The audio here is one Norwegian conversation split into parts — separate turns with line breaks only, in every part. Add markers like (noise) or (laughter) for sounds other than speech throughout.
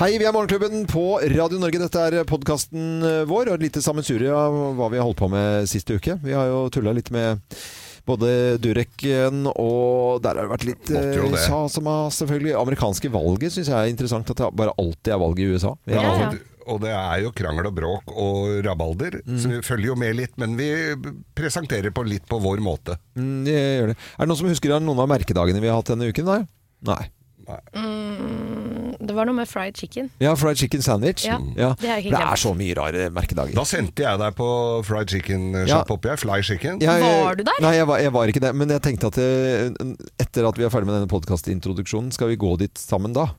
Hei, vi er Morgenklubben på Radio Norge. Dette er podkasten vår, og et lite sammensurie av hva vi har holdt på med siste uke. Vi har jo tulla litt med både Dureken og Der har det vært litt
Måtte jo
eh,
det.
USA som har selvfølgelig Amerikanske valget syns jeg er interessant. At det bare alltid er valg i USA. Vi har-
Ja, og det- Og det er jo krangel og bråk og rabalder, så vi følger jo med litt. Men vi presenterer på litt på vår måte.
Mm, det gjør det. Er det noen som husker noen av merkedagene vi har hatt denne uken? Nei? Nei.
Mm, Det var noe med fried chicken.
Ja, fried chicken sandwich.
Ja, det har jeg ikke
For det
glemt.
er så mye rare merkedager.
Da sendte jeg deg på fried chicken eh,
Ja.
shop oppi her. Fly chicken.
Jeg-
Var du der?
Nei, jeg var, jeg var ikke der. Men jeg tenkte at eh, etter at vi er ferdig med denne podkastintroduksjonen, skal vi gå dit sammen da?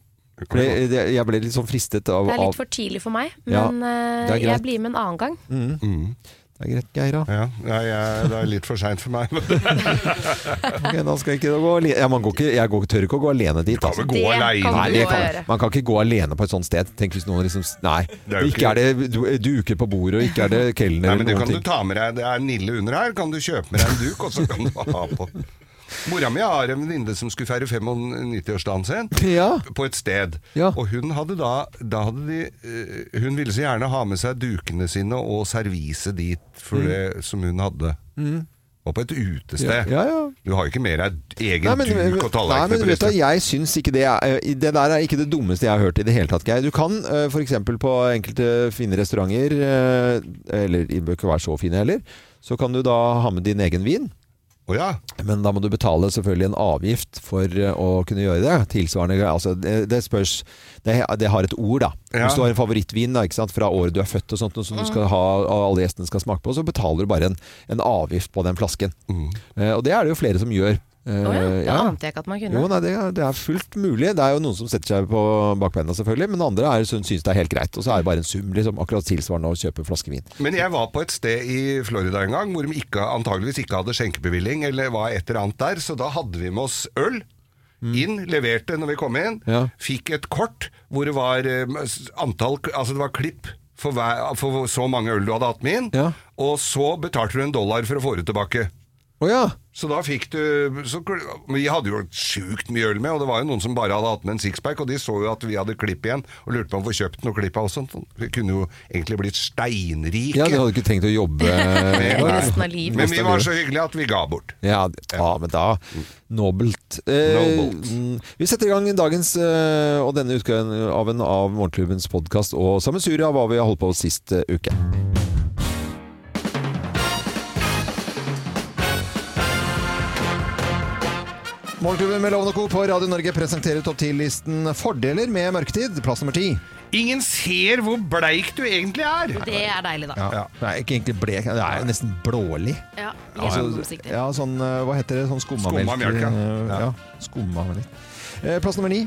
For det- det- jeg ble litt sånn fristet av,
Det er
av
litt for tidlig for meg,
Ja,
men eh,
det er greit.
jeg blir med en annen gang.
Mm.
Det er greit, Geira.
Ja, nei, jeg, det er litt for seint for meg. Men
Ok, da skal jeg ikke gå alene. Ja, man går ikke, jeg går, tør ikke å gå alene dit.
kan
(laughs)
vel
Altså.
gå
Det
aleine.
kan
Nei,
du
det
gå og
kan,
gjøre.
man kan ikke gå alene på et sånt sted. Tenk hvis noen liksom s- Nei.
er jo
Ikke er det du- duker på bordet, og ikke er det kelner
Nei,
eller
men du
noen
kan du
ting.
ta med deg Det er Nille under her, kan du kjøpe med deg en duk, og så kan du ha på. Mora mi har en venninne som skulle feire 95-årsdagen sin.
Ja.
På et sted.
Ja.
Og hun hadde da, da hadde de, eh, Hun ville så gjerne ha med seg dukene sine og servise dit
Mm.
for det som hun hadde. Og på et utested.
Ja, ja, ja.
Du har jo ikke med deg egen
Nei, men, eh,
duk og
nei, men
tallerken.
vet du,
forresten.
jeg syns ikke det er eh, Det der er ikke det dummeste jeg har hørt i det hele tatt, Geir. Du kan f.eks. på enkelte fine restauranter, eh, eller de bør ikke være så fine heller, så kan du da ha med din egen vin.
Å ja.
Men da må du betale selvfølgelig en avgift for eh, å kunne gjøre det. Tilsvarende altså, det, det spørs det, det har et ord, da.
Ja.
Hvis du har en favorittvin da, ikke sant, fra året du er født og sånt, og som
Mm.
du skal ha, og alle gjestene skal smake på, så betaler du bare en, en avgift på den flasken. Eh, og det er det jo flere som gjør. Eh,
Å ja, det
ja.
ante jeg ikke at man kunne.
Jo, nei, det, er- det er fullt mulig. Det er jo noen som setter seg på bakbeina, selvfølgelig. Men andre er, syns det er helt greit. Og så er det bare en sum, liksom. Akkurat tilsvarende å kjøpe en flaske vin.
Men jeg var på et sted i Florida en gang hvor de ikke, antageligvis ikke hadde skjenkebevilling, eller var et eller annet der, så da hadde vi med oss øl. Inn, leverte når vi kom inn,
Ja.
fikk et kort hvor det var eh, s- antall, altså det var klipp for, hver, for så mange øl du hadde hatt med inn,
Ja.
og så betalte du en dollar for å få det tilbake.
Å ja!
Så da fikk du så, kl- Vi hadde jo sjukt mye øl med, og det var jo noen som bare hadde hatt med en sixpack, og de så jo at vi hadde klipp igjen, og lurte på om vi får kjøpt noe klipp av oss. sånt. Vi kunne jo egentlig blitt steinrike.
Ja, Du hadde ikke trengt å jobbe
Men-
Nei. Resten av livet.
Men vi var så hyggelige at vi ga bort.
Ja, d- ja, men da Nobelt. Eh,
Nobelt.
mm, Vi setter i gang dagens eh, og denne utgaven av en av Morgenklubbens podkast og sammensuriet av hva vi har holdt på sist eh, uke. Morgenklubben med Loven og Co. på Radio Norge presenterer topp 10-listen Fordeler med mørketid, plass nummer ti.
Ingen ser hvor bleik du egentlig er!
Det er deilig, da.
Ja. Det er ikke egentlig blek, det er jo nesten blålig.
Ja,
Altså,
gjennomsiktig.
ja, sånn, eh, hva heter det? Sånn skummamelk.
Skummamelk, ja.
eh, ja.
Ja.
skummamelk. Eh, Plass nummer ni.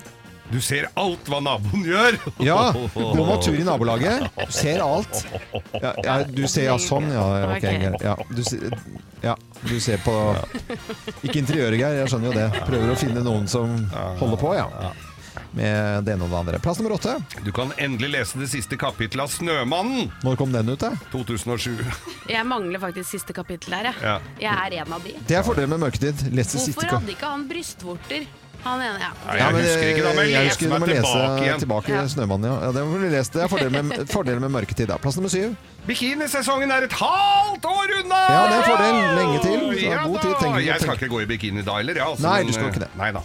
Du ser alt hva naboen gjør!
Ja, gå med tur i nabolaget. Du ser alt. Ja, ja, du ser ja, sånn, ja. Ok, greit. Ja, du, ser- ja, du ser på Ikke interiøret, Geir. Jeg skjønner jo det. Prøver å finne noen som holder på, ja. Med det ene og det andre. Plass nummer åtte.
Du kan endelig lese det siste kapittelet av 'Snømannen'
Når kom den ut, da?
2007.
Jeg mangler faktisk siste kapittel her, jeg.
Ja.
Jeg er en av de.
Det er fordelen med mørketid. Les det siste
Hvorfor
kap-
hadde ikke han brystvorter? Han ene, ja.
Nei,
Ja,
jeg
men,
husker ikke, da, men
jeg
les
husker
meg
du må lese
tilbake igjen.
Tilbake
Ja.
Snømannen, ja. ja det, må du lese. det er fordelen med, fordelen med mørketid. Da. Plass nummer syv.
Bikinisesongen er et halvt år unna!
Ja, det er en fordel. Lenge til. Så
Ja
god
da.
tid, trenger du ikke å
Jeg
tenke.
skal ikke gå i bikini da heller. Ja, altså,
Nei,
men,
du skal
eh,
ikke det.
Nei, da.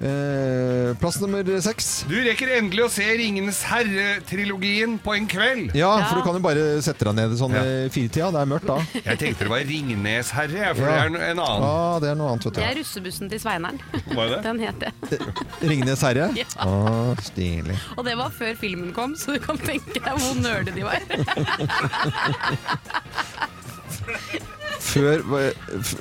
Eh, plass nummer seks.
Du rekker endelig å se 'Ringenes herre'-trilogien på en kveld.
Ja, for du kan jo bare sette deg ned i sånn
Ja.
eh, firetida. Det er mørkt da.
Jeg tenkte det var 'Ringnes herre', jeg, for
Ja.
det er en
Ja,
annen.
det er noe annet,
Det er
vet
russebussen til Sveineren.
Var det?
Den het det.
du. Ringenes herre.
Ja.
Å, stilig.
Og det var før filmen kom, så du kan tenke deg hvor nerde de var.
Før eh, f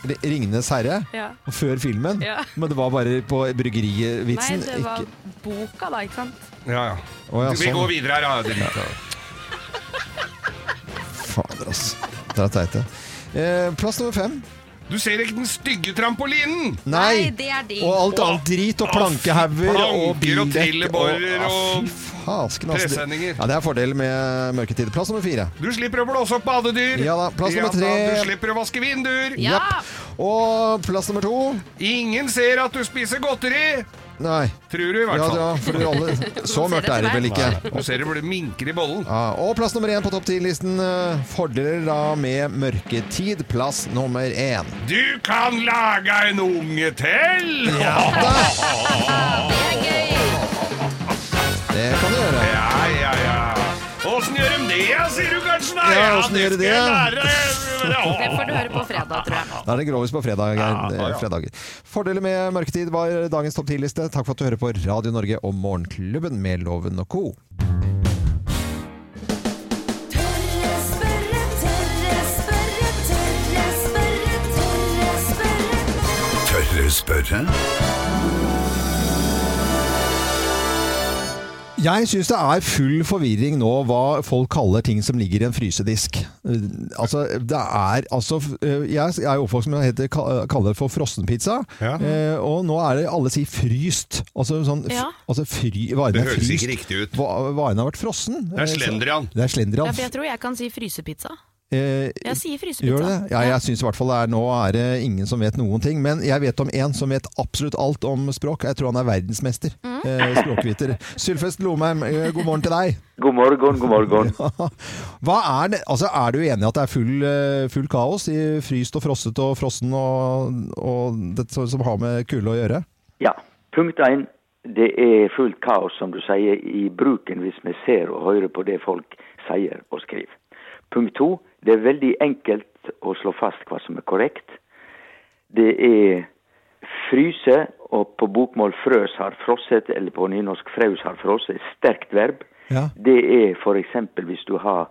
R- Ringenes herre.
Ja.
Og Før filmen.
Ja.
Men det var bare på
Nei,
bryggeriet-vitsen.
det var boka da, ikke sant?
Ja, ja.
Å, ja,
Vi
sånn.
går videre her, ja. Drit, ja.
Fader, ass. Det er teit, det. Eh, plass nummer fem.
Du ser ikke den stygge trampolinen!
Nei!
det er de.
Og alt annet drit og plankehauger
Planker
og
og
bildekk
trillebårer og
Fy fasken, altså.
presenninger.
Ja, det er fordelen med mørketid. Plass nummer fire.
Du slipper å blåse opp badedyr!
Ja da, plass nummer
Ja da,
tre.
Du slipper å vaske vinduer!
Ja!
Japp. Og plass nummer to.
Ingen ser at du spiser godteri!
Nei.
Tror du, i hvert
Ja,
fall.
ja, for alle,
(laughs)
så mørkt er det vel ikke.
Nå ser du hvor det minker i bollen.
Ja, og plass nummer én på topp ti-listen. eh, Fordeler da med mørketid. Plass nummer én.
Du kan lage en unge til! Ja,
Det kan du gjøre.
ja, ja. Åssen gjør de det, sier du kanskje? da?
Ja, åssen gjør de
skal jeg lære deg.
Det får du høre på fredag, tror jeg.
Da er det grovis på fredag, Geir.
ja, ja.
fredager. Fordeler med mørketid var dagens topp ti-liste. Takk for at du hører på Radio Norge og Morgenklubben med Loven og co.
Tørre spørre, tørre spørre, tørre spørre, tørre spørre.
Tørre spørre?
Jeg syns det er full forvirring nå hva folk kaller ting som ligger i en frysedisk. Eh, Altså, det er altså eh, Jeg er jo oppvokst med det heter, ka- kaller det for frossenpizza.
Ja.
Eh, og nå er det alle sier fryst. Altså sånn f-
Ja.
altså, fry, varene
Det
er
høres
fryst.
ikke riktig ut.
Va- Varene har vært frossen.
Det er slendrian.
Det er slendrian.
Ja, for jeg tror jeg kan si frysepizza.
Eh,
Jeg sier frysepizza.
Gjør det? Ja, jeg syns i hvert fall det er, nå er det ingen som vet noen ting. Men jeg vet om en som vet absolutt alt om språk. Jeg tror han er verdensmester. Eh, (laughs) språkviter. Sylfest Lomheim, eh, god morgen til deg. (laughs)
God morgen, god morgen.
Hva er det Altså, er du enig i at det er full, eh, full kaos i fryst og frosset og frossen og, og det som som har med kulde å gjøre?
Ja, punkt én. Det er fullt kaos, som du sier, i bruken hvis vi ser og hører på det folk sier og skriver. Punkt to. Det er veldig enkelt å slå fast hva som er korrekt. Det er fryse, og på bokmål frøs har frosset, eller på nynorsk fraus har frosset, et sterkt verb.
Ja.
Det er f.eks. hvis du har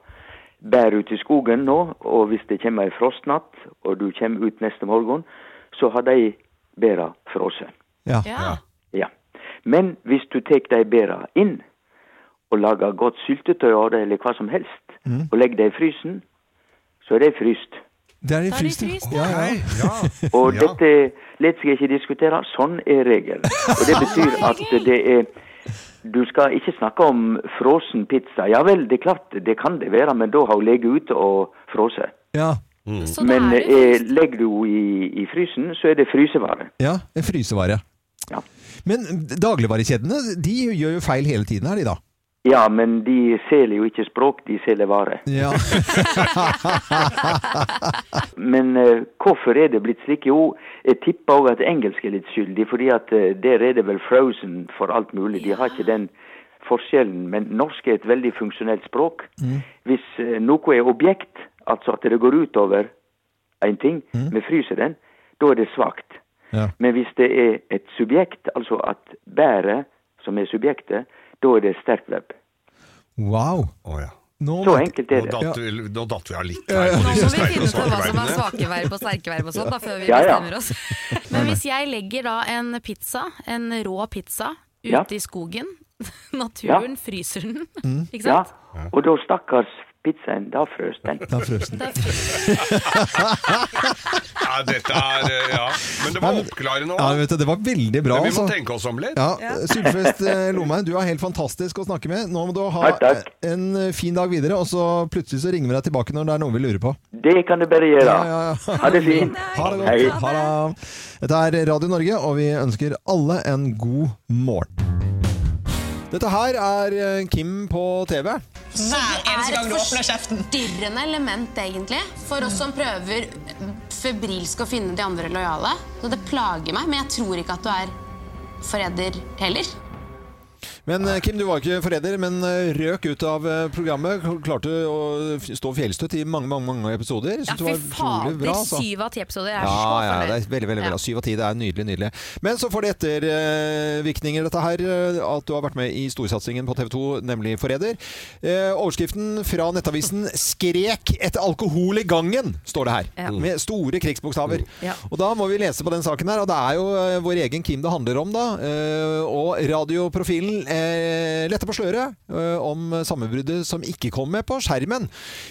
bær ute i skogen nå, og hvis det kommer ei frostnatt, og du kommer ut neste morgen, så har de bæra frosset.
Ja.
Ja.
Ja. Men hvis du tar de bæra inn og lager godt syltetøy av det, eller hva som helst, og legger det i frysen, så er det fryst.
Det
Da
er i
er det
fryst,
fryst,
ja. ja.
Nei, ja.
Og
Ja.
dette lar seg ikke diskutere. Sånn er regelen. Og det betyr at det er Du skal ikke snakke om frossen pizza. Ja vel, det er klart, det kan det være, men da har hun ligget ute og frosset.
Ja.
Mm.
Så da
Men
er det
eh, legger du henne i, i frysen, så er det frysevare.
ja. En frysevare.
Ja.
Men dagligvarekjedene de gjør jo feil hele tiden her, de da.
Ja, men de selger jo ikke språk, de selger vare.
Ja.
Men eh, hvorfor er det blitt slik? Jo, jeg tipper òg at engelsk er litt skyldig, fordi at eh, der er det vel frozen for alt mulig. De har ikke den forskjellen. Men norsk er et veldig funksjonelt språk.
Mm.
Hvis eh, noe er objekt, altså at det går utover en ting,
Mm.
vi fryser den, da er det svakt.
(laughs) ja.
Men hvis det er et subjekt, altså at bæret som er subjektet, da er det sterkt verb.
Wow.
Å, ja.
Nå
Så
vet-
enkelt
Nå
er det.
datt,
Ja.
vi, nå datt vi av litt her. på
Nå må
disse
vi
sterke
finne
og
ut av
svake
hva som er
verdiene.
svake verb og sterke verb og sånn, da, før vi
Ja, ja.
bestemmer oss.
Men hvis jeg legger da en pizza, en rå pizza, ute
Ja.
i skogen (laughs) Naturen fryser
(laughs)
den, ikke
Ja,
sant?
og da stakkars pizzaen, da frøs den.
Da frøs den.
Ja, dette er eh, Ja. Men det var oppklarende
Ja,
òg.
vet du, det var veldig bra,
Vi
altså.
må tenke oss om litt.
Ja, Sylfest eh, Lomheim, du er helt fantastisk å snakke med. Nå må du ha
Takk, takk.
en fin dag videre, og så plutselig så ringer vi deg tilbake når det er noe vi lurer på.
Det kan du bare
Ja, ja,
gjøre.
ja.
Ha det fint.
Ha det
Hei.
godt. Ha det. Dette er Radio Norge, og vi ønsker alle en god morgen. Dette her er eh, Kim på TV.
er et forstyrrende element, egentlig, for oss som prøver febrilsk å finne de andre lojale. Så det plager meg, men jeg tror ikke at du er forræder heller.
Men eh, Kim, du var ikke forræder, men eh, røk ut av eh, programmet. Klarte å f- stå fjellstøtt i mange, mange mange episoder.
Ja, fy
Synes det var utrolig
fader,
bra. altså.
syv av ti episoder. Jeg er så
Ja, ja,
fornøyd.
det er veldig, veldig
Ja.
bra. altså. Syv av ti, det er nydelig, nydelig. Men så får det ettervirkninger, dette her. eh, At du har vært med i storsatsingen på TV 2, nemlig Forræder. Eh, Overskriften fra Nettavisen 'Skrek etter alkohol i gangen', står det her.
Ja.
Med store krigsbokstaver.
Ja.
Og da må vi lese på den saken her, og det er jo eh, vår egen Kim det handler om, da. Eh, Og radioprofilen eh, letter på sløret eh, om sammenbruddet som ikke kom med på skjermen.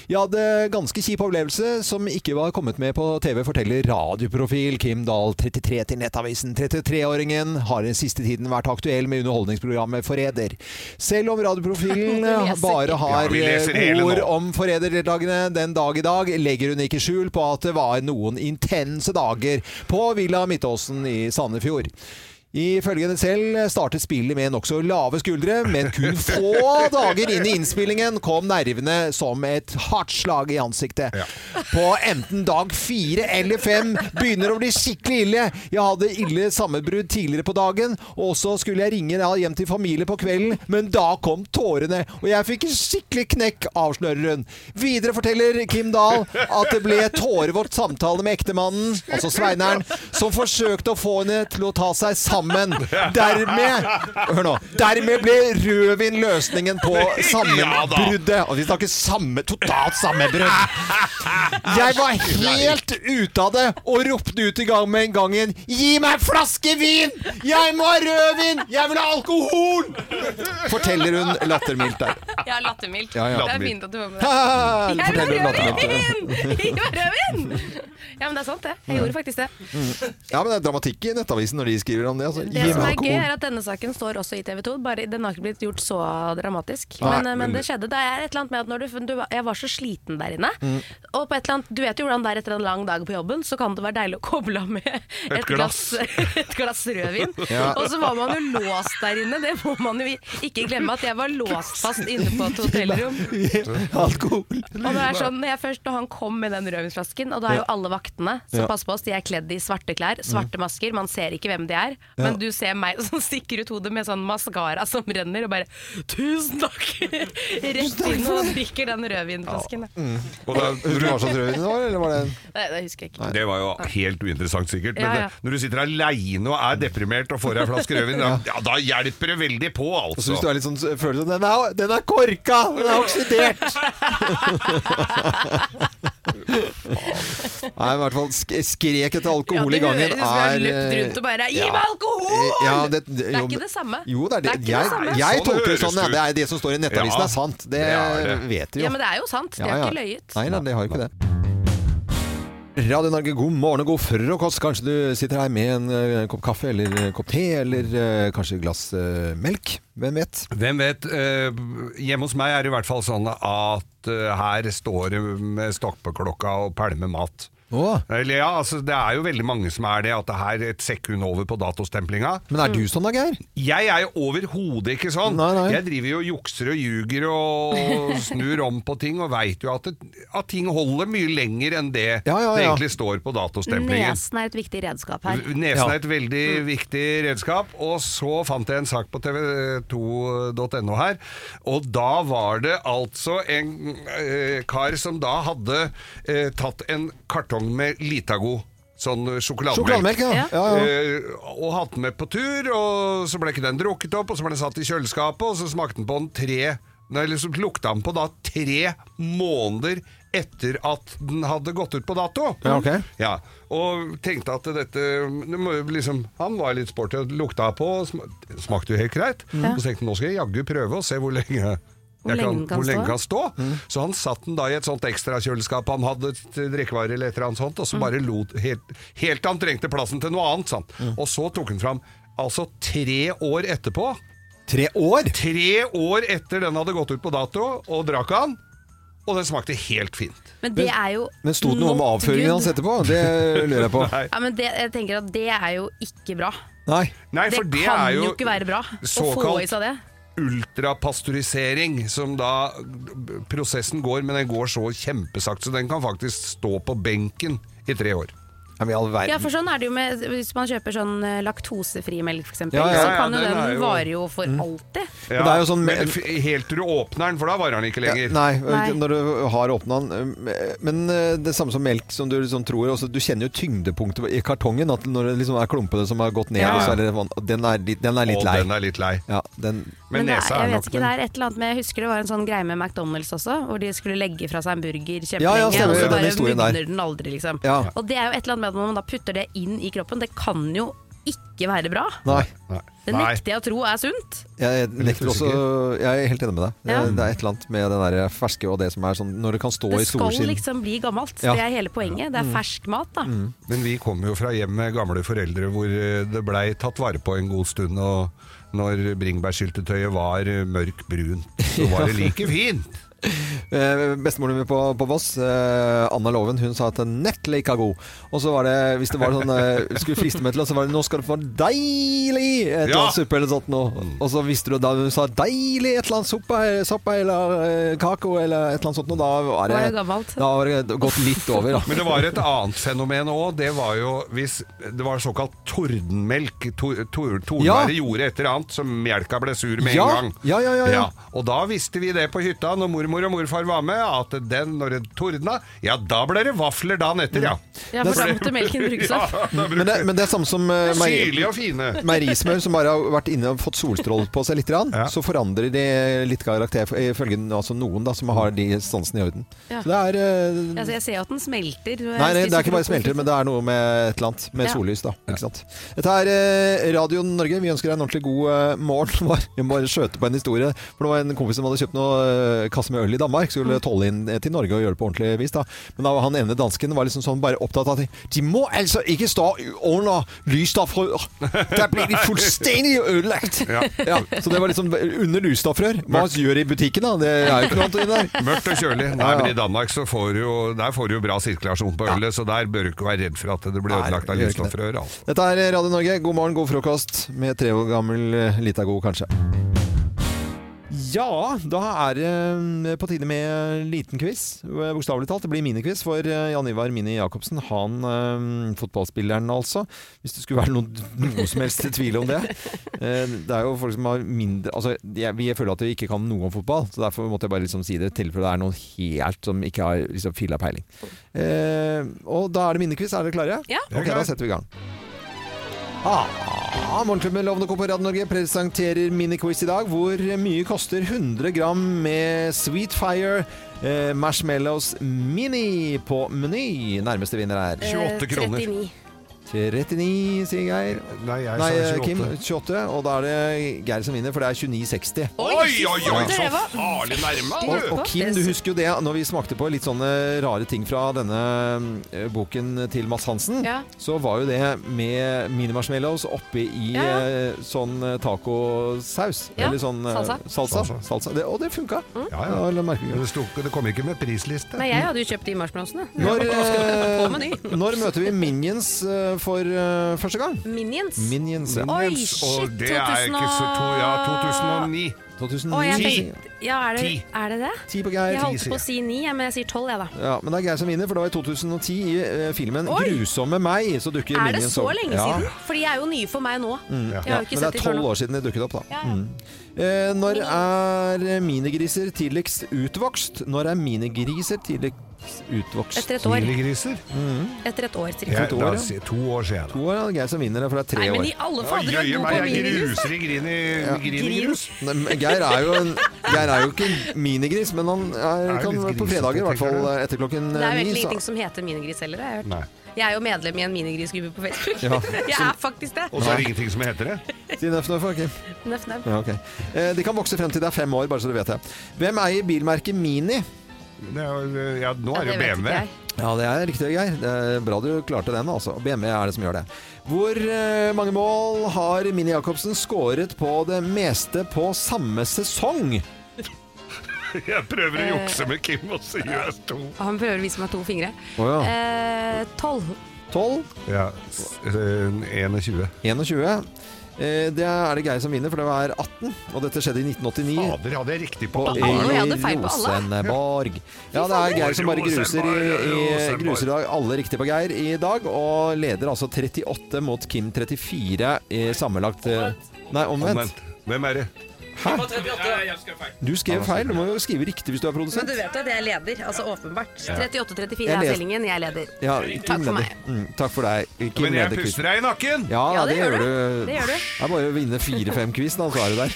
Jeg hadde ganske kjip opplevelse som ikke var kommet med på TV, forteller radioprofil Kim Dahl, 33 til Nettavisen. 33-åringen har den siste tiden vært aktuell med underholdningsprogrammet Forræder. Selv om radioprofilen
leser
bare
Ja,
har
vi leser hele
eh, ord
nå.
om forræderdeltakerne den dag i dag, legger hun ikke skjul på at det var noen intense dager på Villa Midtåsen i Sandefjord. Ifølge henne selv startet spillet med nokså lave skuldre, men
(laughs)
kun få dager inn i innspillingen kom nervene som et hardt slag i ansiktet. På enten dag fire eller fem begynner å bli skikkelig ille. Jeg hadde ille sammenbrudd tidligere på dagen, og så skulle jeg ringe da hjem til familie på kvelden, men da kom tårene, og jeg fikk en skikkelig knekk, avslører hun. Videre forteller Kim Dahl at det ble tårevått samtale med ektemannen, altså Sveineren, som forsøkte å få henne til å ta seg sammen. Dermed Hør nå. Dermed ble rødvin løsningen på sammenbruddet. Og vi snakker samme, totalt sammenbrudd. Jeg var helt ute av det og ropte ut i gang med en gangen Gi meg en flaske vin! Jeg må ha rødvin! Jeg vil ha alkohol! Forteller hun lattermildt der. (laughs)
Jeg er lattermildt.
Ja, ja.
Det er fint at du var med. Jeg vil ha
Forteller hun lattermildt.
rødvin! (laughs) Jeg vil ha rødvin! Ja, men det er sant, det. Jeg gjorde faktisk det.
Ja, men det er dramatikk i Nettavisen når de skriver om det. Altså.
Det
Gi
som
meg
er gøy,
alkohol.
er at denne saken står også i TV 2. Bare, den har ikke blitt gjort så dramatisk.
Nei,
men, men det skjedde. Det er et eller annet med at når du, du var- Jeg var så sliten der inne.
Mm.
Og på et eller annet, du vet jo hvordan det er etter en lang dag på jobben, så kan det være deilig å koble av med et,
glass.
et glass (laughs) rødvin.
(laughs) Ja.
Og så var man jo låst der inne. Det må man jo ikke glemme, at jeg var låst fast inne på
(laughs)
et hotellrom.
Alkohol.
Og når, det er sånn, når, jeg først, når han kom med den rødvinsflasken, og da er jo alle vaktene som
Ja.
passer på oss, de er kledd i svarte klær, svarte masker, man ser ikke hvem de er, men du ser meg (laughs) som stikker ut hodet med sånn maskara som renner, og bare 'tusen takk'! (laughs) Rett inn og drikker den rødvinflasken. da.
Mm.
Og
Husker du
da,
hva slags rødvin det var, eller var det en
Nei, det husker jeg ikke.
det var jo helt uinteressant, sikkert. Men
Ja, ja.
Det, når du sitter aleine og er deprimert og får deg en flaske rødvin, da, ja, da hjelper det veldig på,
Så
altså.
hvis du er litt sånn følelse den er, den er korka! Den er
(laughs)
oksidert! Nei, i hvert fall sk skrek etter alkohol i gangen
som jeg har
er
løpt
eh,
rundt og bare 'gi
ja.
meg alkohol!'
Eh, ja, det,
det er
jo,
ikke det samme.
Jo, det er det.
Det er ikke det
jeg
samme.
jeg
Sånn
tolker det
høres
sånn.
det
Ja.
ut.
Det er det som står i Nettavisen
Ja,
er sant. Det,
det er det.
vet vi jo.
Ja, men det er jo sant. De
Ja,
har
ja.
ikke løyet.
Nei, nei, det har jo ikke det. Radio Norge, god morgen og god frokost. Kanskje du sitter her med en eh, kopp kaffe eller eh, kopp te, eller eh, kanskje et glass eh, melk. Hvem vet?
Hvem vet. eh, hjemme hos meg er det i hvert fall sånn at eh, her står det med stoppklokka og pælmer mat.
Åh.
Eller ja, altså, Det er jo veldig mange som er det, at det er et sekund over på datostemplinga.
Men
Mm.
er du sånn da, Geir?
Jeg er jo overhodet ikke sånn.
Nei, nei.
Jeg driver jo og jukser og ljuger og snur om på ting, og veit jo at, det, at ting holder mye lenger enn det
Ja, ja,
det
ja.
egentlig står på datostemplingen.
Nesen er et viktig redskap her.
Nesen
Ja.
er et veldig viktig redskap. Og så fant jeg en sak på tv2.no her, og da var det altså en eh, kar som da hadde eh, tatt en kartong med Litago, sånn sjokolademelk.
Sjokolademelk, ja. ja. ja,
Eh, og hatt den med på tur, og så ble ikke den drukket opp, og så ble den satt i kjøleskapet, og så smakte den på den tre Nei, eller så lukta den på da tre måneder etter at den hadde gått ut på dato.
Ja, ok.
Ja, og tenkte at dette det må jo liksom, Han var litt sporty og lukta på, og sma- smakte jo helt greit. Og så tenkte han nå skal jeg jaggu prøve og se hvor lenge jeg
Hvor lenge den kan
hvor
stå.
lenge kan stå. Så han satt den da i et sånt ekstrakjøleskap han hadde til drikkevarer eller et eller annet sånt, og
Mm.
så bare lot helt, helt til han trengte plassen til noe annet. Sant? Og så tok han fram altså tre år etterpå.
Tre år?
Tre år etter den hadde gått ut på dato, og drakk han. Og den smakte helt fint.
Men det er jo
Men sto det noe om altså?
not
avføringen
good.
hans etterpå? Det lurer jeg på.
(laughs)
Ja, men det, jeg tenker at det er jo ikke bra.
Nei.
Nei,
Det,
for det
kan
er
jo
jo
ikke være bra å få
såkalt-
i seg det.
ultrapasteurisering, som da prosessen går, men den går så kjempesakt, så den kan faktisk stå på benken i tre år.
Ja, men i all
Ja,
verden.
for sånn er det jo med Hvis man kjøper sånn eh, laktosefri melk, f.eks., eksempel
Ja, ja,
så
ja,
kan jo
den
den,
er jo-
vare jo for alltid.
Men det er jo sånn-
men f- helt til du åpner den, for da varer den ikke lenger.
Nei, øh,
Nei.
når du har åpna den. øh, Men det samme som melk, som du liksom tror også, Du kjenner jo tyngdepunktet i kartongen. At når det liksom er klumpene som har gått ned,
Ja.
og så er det vann Den er litt, den er litt
Og
lei.
den er litt lei.
Ja, den
Men,
det er,
nesa
jeg
er
vet
nok
ikke, det er et eller annet med Jeg husker det var en sånn greie med McDonald's også, hvor de skulle legge fra seg en burger
Ja, ja,
kjempelenge,
stemmer,
og så
den
bare
historien der.
mugner den aldri, liksom.
Ja.
Og det er jo et eller annet med at når man da putter det inn i kroppen, det kan jo ikke være bra.
Nei.
Nei.
Det
Nei.
nekter jeg å tro er sunt.
Jeg nekter
litt
også Jeg er helt enig med deg.
Ja.
Det er et eller annet med den der ferske og det som er sånn Når det kan stå
Det
i
skal
solskinn.
liksom bli gammelt.
Ja.
Det er hele poenget. Det er fersk mat, da.
Men vi kommer jo fra hjem med gamle foreldre hvor eh, det blei tatt vare på en god
(laughs)
stund. og når bringebærsyltetøyet var eh, mørk brunt, så var det like fint.
Eh, Bestemoren min på, på Voss, eh, Anna Loven, hun sa at nettle ikke er god. Og så var det, hvis det var sånn eh, Skulle friste meg til, og så var det 'nå skal det få deilig' eh, et eller
Ja.
annet suppe eller sånt noe. Og så visste du da hun sa 'deilig' et eller annet suppe, suppe eller eh, kake eller et eller annet sånt noe, da var det,
Var det gammelt?
Da var det gått litt over, da.
Men det var et annet fenomen òg. Det var jo hvis Det var såkalt tordenmelk. Tor, tor, tordenværet
Ja.
gjorde et eller annet, så melka ble sur med
Ja.
en gang.
Ja, ja, ja, ja.
Og da visste vi det på hytta når mormor og morfar var med, at den, når det tordna, ja, da ble det vafler dagen etter, ja.
Mm.
Ja, for da måtte melken brukes
(laughs) Ja,
opp.
da
(laughs) Men
brukte
det, men det er samme som eh, meg-
Syrlige og fine.
Meierismør som bare har vært inne og fått solstråler på seg litt, grann,
Ja.
så forandrer de litt karakter, ifølge altså noen da, som har de sansene i orden.
Ja.
Så det er eh,
Altså, jeg ser jo at den smelter. når
Nei,
jeg
nei, det
spiser
er ikke bare
frokost. liksom.
smelter, men det er noe med et eller annet. Med
Ja.
sollys, da. Ikke sant? Dette er eh, Radio Norge. Vi ønsker deg en ordentlig god eh, morgen. (laughs) Bare- Jeg må bare skjøte på en historie. For det var en kompis som hadde kjøpt noe eh, kasse med øl i Danmark.
Mm.
Skulle tolle inn eh, til Norge og gjøre det på ordentlig vis. da. Men da var han ene dansken var liksom sånn bare opptatt av at de må altså ikke stå under lysstoffrør. Der blir de fullstendig ødelagt.
Ja.
Ja, så det var liksom under lysstoffrør. Hva gjør de i butikken, da? Det er jo ikke noe annet inni der.
Mørkt og kjølig. Nei,
Ja, ja.
men I Danmark så får du jo, der får du jo bra sirkulasjon på ølet, så der bør du ikke være redd for at det blir
Nei,
ødelagt
gjør
av
ikke det.
lysstoffrør. Altså.
Dette er Radio Norge. God morgen, god frokost. Med tre år gammel eh, lita god, kanskje. Ja, da er det eh, på tide med liten quiz. Eh, Bokstavelig talt. Det blir miniquiz for eh, Jan Ivar Mini Jacobsen. Han eh, fotballspilleren, altså. Hvis det skulle være noen, noe som helst tvil om det. Eh, det er jo folk som har mindre Altså, jeg, vi føler at vi ikke kan noe om fotball, så derfor måtte jeg bare liksom si det, i tilfelle det er noen helt som ikke har liksom, filla peiling. Eh, og da er det miniquiz. Er dere klare?
Ja.
Ok, da setter vi i gang. Ah, Morgenklubben Lovende Co. på Radio Norge presenterer miniquiz i dag. Hvor mye koster 100 gram med Sweet Fire eh, Marshmallows Mini på Meny? Nærmeste vinner er
Eh,
28 kroner.
39, sier Geir.
Nei, jeg
Nei, eh,
sa 28.
Kim. 28. Og da er det Geir som vinner, for det er 29,60.
Oi, oi, oi, så farlig nærme!
Og,
du.
og Kim, du husker jo det når vi smakte på litt sånne rare ting fra denne eh, boken til Mads Hansen.
Ja.
Så var jo det med mini-marshmallows oppi i
Ja, ja.
eh, sånn eh, tacosaus.
Ja,
Eller sånn eh,
salsa. Mm.
salsa.
Salsa.
salsa. Det, og det funka.
Ja,
Ja,
ja.
la meg merke
Men
det.
det, sto, ikke- det kom ikke med prisliste.
Nei, jeg hadde jo kjøpt de marshmallowsene.
Når,
På
eh,
meny.
når møter vi Minions eh, for eh, første gang?
Minions.
Minions, ja.
Oi,
Mens-
shit,
og det er ikke så to, ja, 2009.
2009.
Å, jeg
Ti.
tenkte, ja, er det,
Ti.
er det det?
Ti på Geir.
Jeg holdt
sier
på å si ni, jeg, men jeg sier tolv, jeg, da.
Ja, men det er Geir som vinner, for det var i 2010 i eh, filmen
Oi!
'Grusomme meg' så dukker
Er det
Minions
så
opp.
lenge
Ja. Mm.
siden? Fordi jeg er jo nye for meg nå.
Ja,
Jeg har
men
jo ikke
det
sett
er
de før
tolv
nå.
år siden de dukket opp, da.
Ja, ja.
Mm. Eh, når er minigriser tidligst utvokst? Når er minigriser tidligst utvokst?
Etter et år.
Tidliggriser?
Etter et år,
Ja,
cirka.
to
da
år, ja.
sier- to år siden.
To år er det Geir som vinner, for det er tre
Nei, men
år.
i alle
Oi,
fader, du
jøye
er god
meg,
på
jeg
minigrus!
gruser i grin i grin i grus.
Nei, men Geir er jo, en, Geir er jo ikke en minigris, men han er,
Er jo
kan
litt
på
grisete,
fredager, i hvert fall
tenker
etter klokken
Det er
eh,
jo egentlig
ni.
ingenting
Så,
som heter minigris heller, har jeg hørt.
Nei.
Jeg er jo medlem i en minigrisgruppe på Facebook.
Ja,
(laughs) jeg er faktisk det.
Og så er det ingenting som heter det.
si nøff nå, folk.
Nøff, nøff.
Ja, ok. Eh, De kan vokse frem til det er fem år, bare så du vet det. Hvem eier bilmerket Mini?
det er, jo- ja, nå er det jo
Ja, vet
BMW.
ikke jeg.
Ja, det er riktig, Geir. Det er bra du klarte den, altså. BMW er det som gjør det. Hvor eh, mange mål har Mini Jacobsen skåret på det meste på samme sesong?
(laughs) Jeg prøver å
Eh.
jukse med Kim, og så gjør jeg to.
Og Han prøver å vise meg to fingre.
Å ja.
Eh, Tolv.
12?
Ja, s- eh, 21.
21? Eh, det er det Geir som vinner, for det var 18. Og dette skjedde i 1989.
Fader, hadde jeg riktig på
På
alle?
alle, jeg
Øy
hadde feil på alle. (laughs)
Rosenborg. Ja, det er Geir som bare gruser, i, i,
Rosenborg.
gruser i dag. alle riktig på Geir i dag, og leder altså 38 mot Kim 34 i sammenlagt eh, Nei, omvendt.
Omvendt. Hvem er det?
Du skrev feil. Du må jo skrive riktig hvis du er
Men
produsent.
du vet jo at jeg leder, altså åpenbart.
38-34
Jeg Mm.
er
leser-
stillingen, jeg leder.
Ja, Kim
for
leder.
meg.
Mm, takk for deg, Kim
Men jeg
leder quiz.
puster deg i nakken!
Ja,
Ja,
det,
det gjør
gjør du.
Det gjør du.
Det er bare å vinne fire-fem quiz, da, så er du der.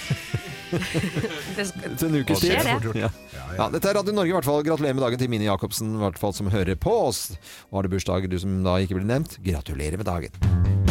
(laughs)
Det skal-
Til en ukes
Det
tid.
er det.
Ja. Ja, dette er Radio Norge i hvert fall. Gratulerer med dagen til Mini Jacobsen, i hvert fall som hører på oss. Og har du bursdag, du som da ikke blir nevnt, gratulerer med dagen.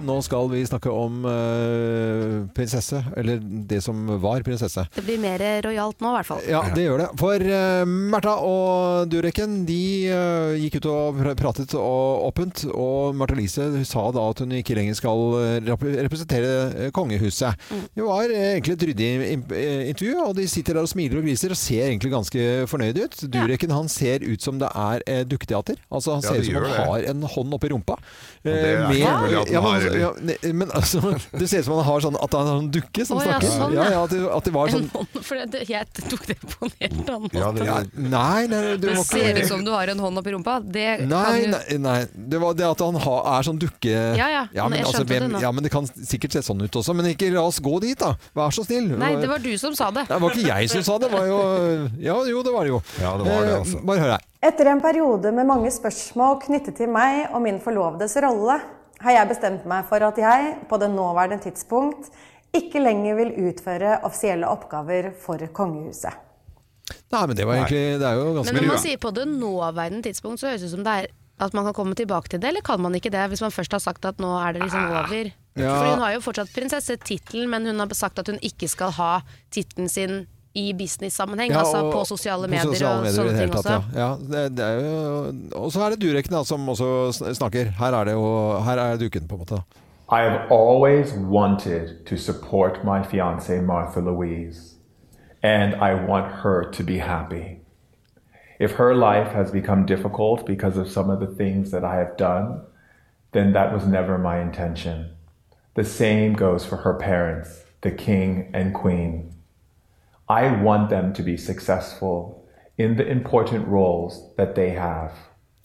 Nå skal vi snakke om eh, prinsesse. Eller det som var prinsesse.
Det blir mer eh, rojalt nå, i hvert fall.
Ja, det gjør det. For uh, Märtha og Dureken de eh, gikk ut og pr pratet og åpent, og Märtha Lise sa da at hun ikke lenger skal eh, rep representere eh, kongehuset.
Mm.
Det var eh, egentlig et ryddig im- eh, intervju, og de sitter der og smiler og gliser og ser egentlig ganske fornøyde ut. Dureken han ser ut som det er eh, dukketeater. Altså Han
Ja,
ser ut
det
som
gjør
han
det.
har en hånd oppi rumpa. Eh,
det er ikke mulig at han
ja,
har,
men,
eller?
ja, ne- men altså, (laughs) det ser ut som han har sånn at han har en dukke som
Å, ja,
snakker.
sånn,
ja,
ja.
ja, at, det, at det var
(laughs)
sånn
For det, jeg tok det på en helt annen måte.
Ja, det,
ja, Nei, nei, du må
det
ikke
ser ut som du har en hånd oppi rumpa. Det
Nei,
kan jo
nei, nei, det var det at han ha, er sånn dukke...
Ja, ja,
men,
jeg
altså,
skjønte det
hvem,
nå.
ja, men det kan sikkert se sånn ut også, men ikke la oss gå dit da. Vær så snill.
Nei, det var du som sa det.
Nei, det var ikke jeg som sa det, det var jo... Ja, jo, det var det jo.
Ja, det var det,
Eh,
altså.
Bare hør her.
Etter en periode med mange spørsmål knyttet til meg og min forlovedes rolle, har jeg bestemt meg for at jeg, på det nåværende tidspunkt, ikke lenger vil utføre offisielle oppgaver for kongehuset.
Nei, men det var egentlig... Det er jo ganske...
Men når
Men
man
ua-
sier på det nåværende tidspunkt, så høres det ut som det er at man kan komme tilbake til det, eller kan man ikke det hvis man først har sagt at nå er det liksom over?
Ja.
For hun har jo fortsatt prinsessetittelen, men hun har sagt at hun ikke skal ha tittelen sin i business-sammenheng,
Ja,
altså
og-
på sosiale
på
medier
sosiale medier i
og sånne
det hele
ting også.
tatt, Ja. Ja, det, det er jo, og så er det Durek da, som også sn- snakker. Her er det jo, her er duken på en måte. da.
I have always wanted to support my fiancee Martha Louise, and I want her to be happy. If her life has become difficult because of some of the things that I have done, then that was never my intention. The same goes for her parents, the king and queen. I want them to be successful in the important roles that they have.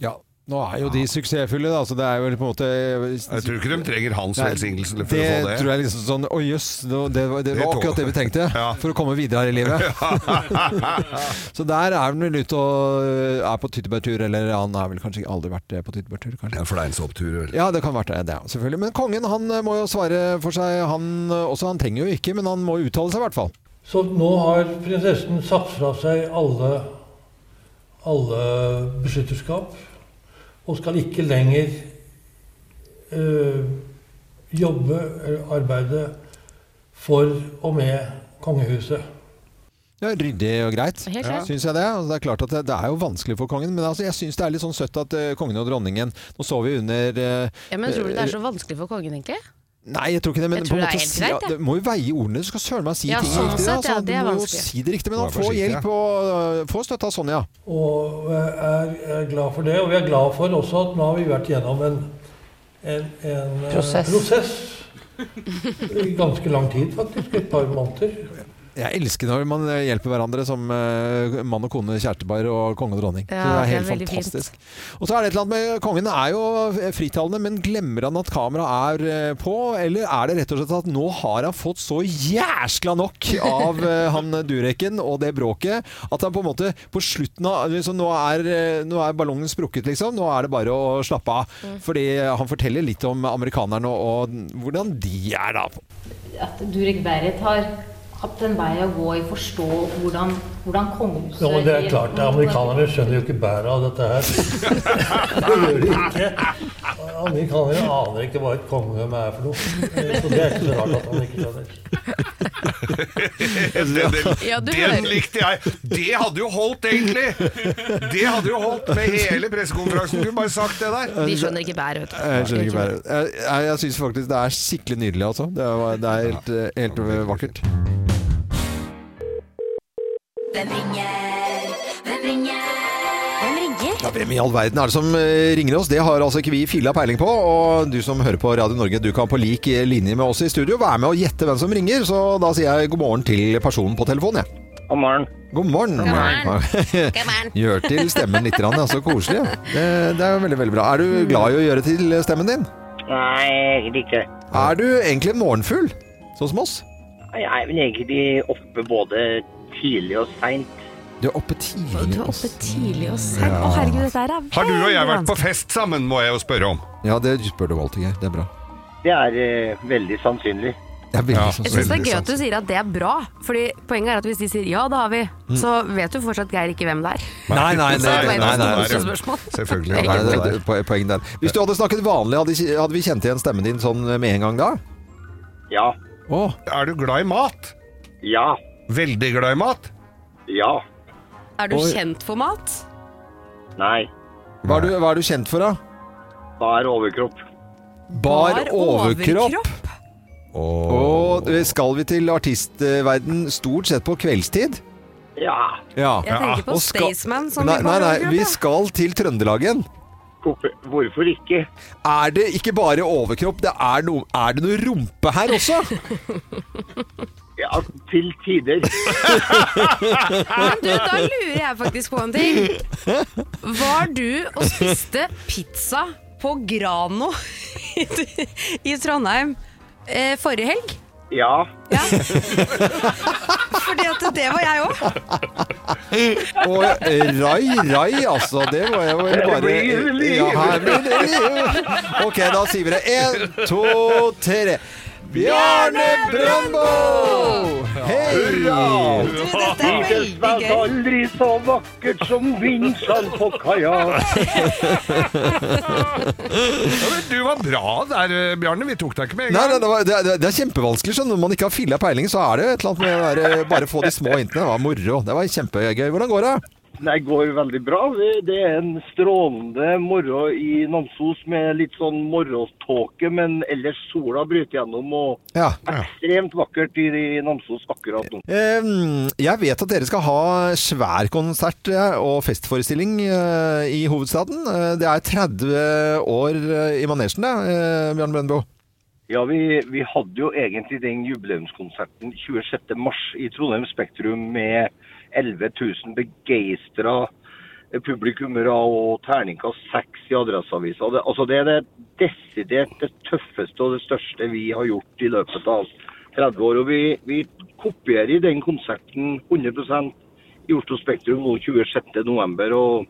Ja, nå er jo de suksessfulle da, så det er jo på en måte...
jeg tror ikke de trenger hans
Nei,
velsignelse for
det
å få det.
tror jeg liksom sånn Å jøss, det, var- det, var- det
Det
var
tåler-
akkurat det vi trengte
(laughs) Ja.
for å komme videre her i
(laughs)
livet. så der er han vel ute og øh, er på tyttebærtur, eller han har vel kanskje aldri vært eh, på tyttebærtur, kanskje.
Det er en fleinsopptur, vel.
Ja, det kan være det, det, ja, selvfølgelig. Men kongen han eh, må jo svare for seg, han eh, også. Han trenger jo ikke, men han må uttale seg i hvert fall.
Så nå har prinsessen satt fra seg alle, alle beskytterskap og skal ikke lenger eh, jobbe eller arbeide for og med kongehuset.
Ja, Ryddig og greit,
Helt klart.
syns jeg det. Altså, det er klart at det, det er jo vanskelig for kongen, men altså, jeg syns det er litt sånn søtt at eh, kongen og dronningen Nå så vi under eh,
Ja, men tror du det er så vanskelig for kongen, egentlig?
Nei, jeg tror ikke det, men
Jeg
på
tror
en
det er
måte
helt
si,
greit,
ja,
jeg.
det må jo veie ordene. Du skal søren meg si
Ja,
ting
sånn
riktig.
sett, ja,
altså,
det er
du må jo
vanskelig.
si det riktig, men
Vær
han får
forsiktig,
hjelp og øh, får støtte av Sonja.
Og jeg er, er glad for det. Og vi er glad for også at nå har vi vært gjennom en, en, en eh,
Prosess.
prosess i ganske lang tid, faktisk. Et par måneder.
Jeg elsker når man øh, hjelper hverandre som øh, mann og kone, kjærtepar og konge og dronning. så det
Ja,
er
det er
helt
veldig fint.
fantastisk. Og så er det et eller annet med kongen er jo fritalende, men glemmer han at kameraet er øh, på? Eller er det rett og slett at nå har han fått så jæskla nok av
(laughs)
øh, han Dureken og det bråket, at han på en måte på slutten av liksom, nå, er, øh, nå er ballongen sprukket, liksom. Nå er det bare å slappe av.
Mm.
Fordi han forteller litt om amerikanerne og, og hvordan de er, da.
At Durek Berit har hatt en vei å gå i å forstå hvordan, hvordan kongehuset
Ja, men det er klart, Amerikanerne skjønner jo ikke bæret av dette her. (laughs) Det gjør de ikke. Amerikanere aner ikke hva et kongedømme er for noe. Eh, Så det er ikke så rart at han ikke skjønner.
Den, den,
Ja, du
den
hører.
likte jeg! Det hadde jo holdt, egentlig! Det hadde jo holdt med hele pressekonferansen. Du kunne bare sagt det der.
De skjønner ikke bær, vet du.
Jeg skjønner ikke bare. Jeg, jeg, jeg syns faktisk det er skikkelig nydelig, altså. Det er, det er helt, eh, helt eh, vakkert.
Hvem ringer? Hvem ringer? Hvem ringer?
Ja, hvem i all verden er det som eh, ringer oss? Det har altså ikke vi filla peiling på. Og du som hører på Radio Norge, du kan på lik linje med oss i studio være med og gjette hvem som ringer. Så da sier jeg god morgen til personen på telefonen, jeg.
God morgen.
God morgen. God (laughs) morgen. Gjør til stemmen litt, rann, ja. så koselig. ja. Det, det er veldig, veldig bra. Er du glad i å gjøre til stemmen din?
Nei, egentlig ikke.
Er du egentlig en morgenfugl, sånn som oss?
Jeg er vel egentlig oppe både tidlig og seint.
Du er oppe tidlig.
Du er
ass.
oppe tidlig og sent. Å herregud, dette her er veldig
Har du og jeg vært
vanskelig.
på fest sammen, må jeg jo spørre om.
Ja, det spør du alltid, Geir. Det er bra.
Det er eh, veldig sannsynlig.
Det er veldig sånn sannsynlig.
Ja.
Jeg syns det er
Veldig
gøy at du sier at det er bra, Fordi poenget er at hvis de sier ja, det har vi, så vet du fortsatt Geir ikke hvem det er.
Nei, nei,
Så det
nei,
var
nei,
et
nei,
vanskelig
nei.
spørsmål.
Selvfølgelig.
Nei,
det
det,
er det
det, po- poeng der. Hvis du hadde snakket vanlig, hadde, hadde vi kjent igjen stemmen din sånn med en gang da?
Ja.
Er du glad i mat? Ja. Veldig glad i mat? Ja.
Er du
Oi.
kjent for mat?
Nei. Hva er du, hva er du kjent for, da?
Bar overkropp.
Bar, overkropp. Og eh, skal vi til artistverden stort sett på kveldstid?
Ja.
Ja.
Jeg tenker på
Og skal-
Staysman som
nei,
i
nei, nei,
barnehagen,
vi
ja.
skal til Trøndelagen.
Hvorfor ikke?
Er det ikke bare overkropp? Det er, no, er det noe rumpe her også?
Ja, til tider.
Men du, da lurer jeg faktisk på en ting. Var du og spiste pizza på Grano (laughs) i, i Trondheim eh, forrige helg?
Ja.
Fordi at det var jeg òg.
Og eh, rai, rai, altså. Det var jo
Det
bare
blir liv.
ja, her blir det liv. Ok, da sier vi det. Én, to, tre. Bjarne Brøndbo! Hei!
Vides meg aldri så vakkert som vinsjene på kaia.
Ja, men du var bra der, eh, Bjarne. Vi tok deg ikke med en
Nei,
gang.
nei, det, var, det, er- det er kjempevanskelig. Sånn. Når man ikke har filla peiling, så er det et eller annet med å være, bare få de små hintene. Det var moro. Det var kjempegøy. Hvordan går det?
Det går veldig bra. Det er en strålende morgen i Namsos med litt sånn morgentåke, men ellers sola bryter gjennom og
Ja.
ekstremt vakkert i i Namsos akkurat nå.
Ehm, Jeg vet at dere skal ha svær konsert eh, og festforestilling eh, i hovedstaden. Eh, Det er 30 år eh, i manesjen, det, eh, Bjørn Brøndbo.
Ja, vi, vi hadde jo egentlig den jubileumskonserten 26. mars i Trondheim Spektrum med 11 000 begeistra eh, publikummere og terningkast seks i Adresseavisa. Det, altså, det er det desidert det tøffeste og det største vi har gjort i løpet av 30 år. Og vi, vi kopierer den konserten 100 i Oslo Spektrum nå 26. november. Og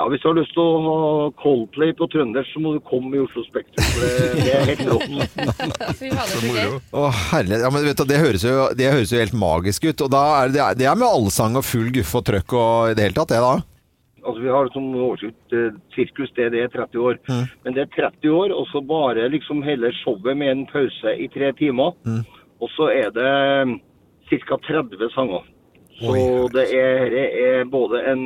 ja, hvis du har lyst til å ha Coldplay på trønder, så må du komme i Oslo Spektrum. For det, det er helt rått.
Å, herlighet. Ja, men vet du, det, høres jo, det høres jo helt magisk ut. Og da er det, det er med allsang og full guffe og trøkk og i det hele tatt, det da.
Altså, vi har som overskrift eh, sirkus, det, det er 30 år.
Mm.
Men det er 30 år, og så bare liksom hele showet med en pause i tre timer.
Mm.
Og så er det ca. 30 sanger. Så det er, det er både en,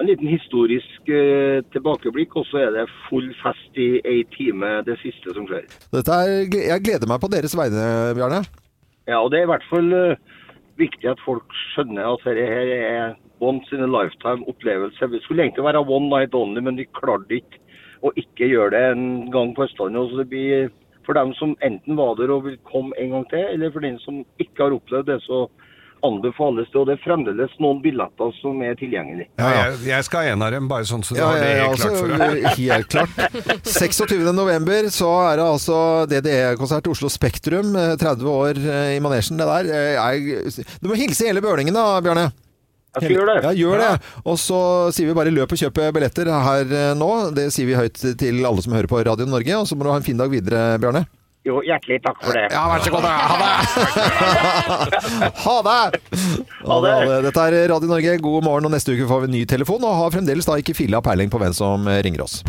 en liten historisk eh, tilbakeblikk, og så er det full fest i ei time, det siste som skjer.
Dette er, gle- jeg gleder meg på deres vegne, Bjarne.
Ja, og det er i hvert fall eh, viktig at folk skjønner at dette her er once in a lifetime opplevelse. Vi skulle egentlig være one night only, men vi klarte ikke å ikke gjøre det en gang på Østlandet. Så det blir for dem som enten var der og vil komme en gang til, eller for den som ikke har opplevd det, så anbefales det. Og det er fremdeles noen billetter som er tilgjengelig.
Jeg, jeg skal ha en av dem, bare sånn så du
Ja,
har det
ja,
helt
altså,
klart for deg.
helt klart.
(laughs)
26. november så er det altså DDE-konsert Oslo Spektrum. eh, 30 år eh, i manesjen, det der. Eh, Jeg, du må hilse hele Bølingen da, Bjarne.
Jeg skal gjøre det.
Ja, gjør det. Og så sier vi bare løp og kjøp billetter her eh, nå. Det sier vi høyt til alle som hører på Radio Norge. Og så må du ha en fin dag videre, Bjarne.
Jo, hjertelig takk for det.
Ja, vær så god. da. Ha det! (laughs) ha det!
Ha det.
Ha det. Dette er Radio Norge, god morgen. Og neste uke får vi ny telefon, og har fremdeles da ikke filla peiling på hvem som eh, ringer oss.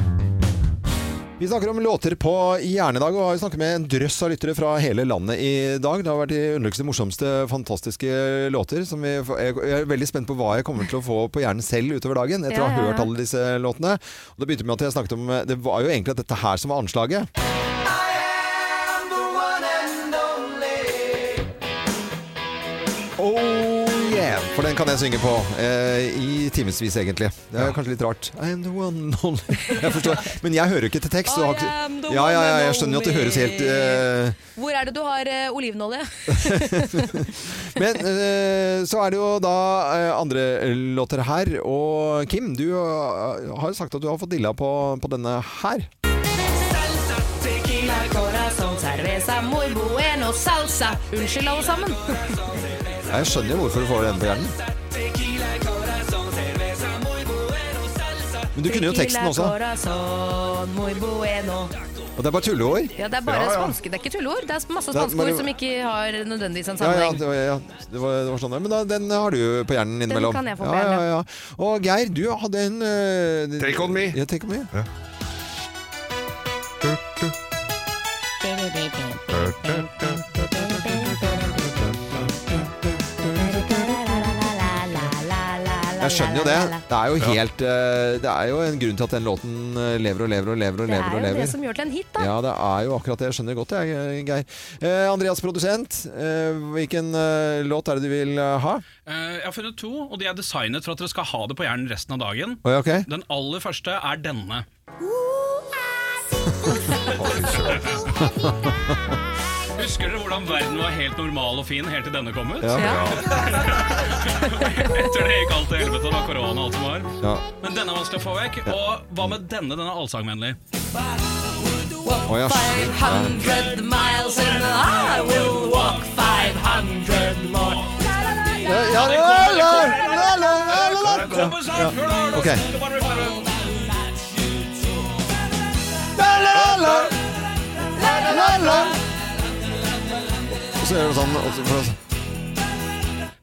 Vi snakker om låter på Hjernedag, og har snakket med en drøss av lyttere fra hele landet i dag. Det har vært de underligste, morsomste, fantastiske låter. Som vi, får- jeg jeg er veldig spent på hva jeg kommer til å få på hjernen selv utover dagen etter å
Ja,
ha
ja, ja.
hørt alle disse låtene. Og det begynte med at jeg snakket om Det var jo egentlig dette her som var anslaget. Oh yeah! For den kan jeg synge på eh, i timevis, egentlig. Det er kanskje litt rart. I am the one and only (laughs) Jeg forstår. Men jeg hører jo ikke til tekst. så har ikke-
I am the
ja, ja, ja,
one and
jeg skjønner jo at det høres helt eh,
Hvor er det du har eh, olivenolje?
Men eh, så er det jo da eh, andre låter her. Og Kim, du eh, har jo sagt at du har fått dilla på, på denne her.
Tequila, corazón, cerveza, muy bueno, salsa. Unnskyld, alle sammen.
Jeg skjønner jo hvorfor du får den på hjernen. Men du kunne jo teksten også.
Tequila, corazón, muy bueno.
Og det er bare tulleord.
Ja, det er bare
Ja, ja.
spanske, det er ikke tulleord. Det er masse
Det er
spanske
bare-
ord som ikke har nødvendigvis
Ja,
en
ja,
sammenheng.
det var, ja, det var, det var sånn. ja. Men da, den har du på hjernen innimellom.
kan jeg få på
ja,
hjernen,
ja, ja. Og Geir, du hadde en eh,
Take on me.
Ja, take on me.
Du, du.
jeg skjønner jo det. Det er jo helt eh, Det er jo en grunn til at den låten eh, lever og lever og lever og lever.
Det er
og
jo
lever
det som gjør til en hit, da.
Ja, det er jo akkurat det. Jeg skjønner det godt, jeg, Geir. Eh, Andreas produsent, eh, hvilken eh, låt er det du vil eh, ha?
Eh, jeg har funnet to, og de er designet for at dere skal ha det på hjernen resten av dagen.
Oi, ok.
Den aller første er denne. Husker dere hvordan verden var helt normal og fin helt til denne kom ut? (laughs)
Ja. Ja.
Etter det gikk alt til helvete, det var korona og alt som var.
Ja.
Men denne er vanskelig å få vekk. Og hva med denne? Den er allsangvennlig.
Å, ja.
500 miles and I will walk 500 more.
Ja, la, la, la, la, la, la. Ja. Ok. Og så gjør du sånn og så, for oss.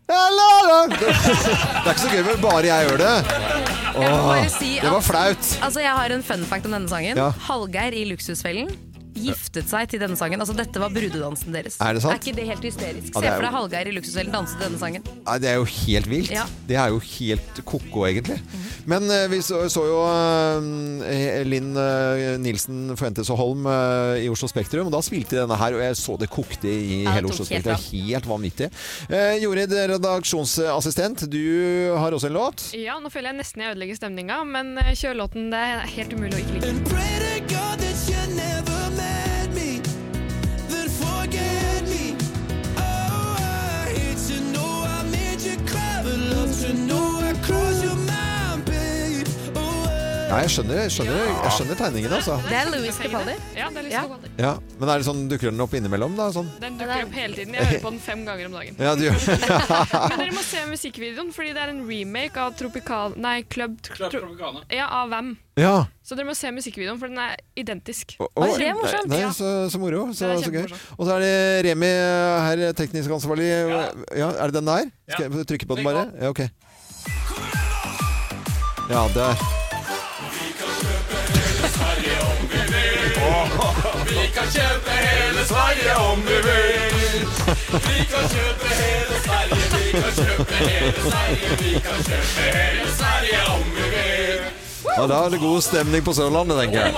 La, la, la. (laughs) Det, det er ikke så gøy når bare jeg gjør det.
Jeg må
Åh,
bare si
det var
at-
flaut.
Altså, jeg har en fun fact om denne sangen.
Ja.
Hallgeir i Luksusfellen giftet seg til denne sangen. Altså, dette var brudedansen deres.
Er det sant?
Er ikke det helt hysterisk?
Ja,
Se
det er
for deg
jo-
Hallgeir i Luksusfellen danse til denne sangen.
Nei, det er jo helt vilt.
Ja.
Det er jo helt ko-ko, egentlig. Men eh, vi så, så jo eh, Linn eh, Nilsen Fuentes og Holm eh, i Oslo Spektrum, og da spilte de denne her, og jeg så det kokte i
Ja, det
hele
tok
Oslo
helt
Spektrum. Helt vanvittig. Eh, Jorid, redaksjonsassistent, du har også en låt.
Ja, nå føler jeg nesten jeg ødelegger stemninga, men eh, kjør låten. Det er helt umulig å ikke like.
Oh, Oh, Ja, jeg skjønner, jeg skjønner, jeg skjønner tegningen, altså.
Det er Louis Capaldi.
Ja, det er litt
Ja.
sånn.
Ja, men er det sånn, dukker den opp innimellom, da? Sånn?
Den dukker opp hele tiden. Jeg hører på den fem ganger om dagen.
Ja, du gjør (laughs)
Men dere må se musikkvideoen, fordi det er en remake av Tropical... Nei, Club,
Club Tropicana.
Ja, av Vam.
Ja.
Så dere må se musikkvideoen, for den er identisk.
Å, Nei, nei, så, så moro. Så,
Det er
så gøy. Og så er det Remi her, teknisk ansvarlig. Ja. er det den der? Skal jeg trykke på den bare? Ja, ok. Ja, der.
Vi kan kjøpe hele Sverige om vi vil. Vi kan kjøpe hele Sverige, vi kan kjøpe hele Sverige, vi kan kjøpe hele Sverige om vi vil.
Ja, da er det god stemning på Sørlandet, tenker jeg.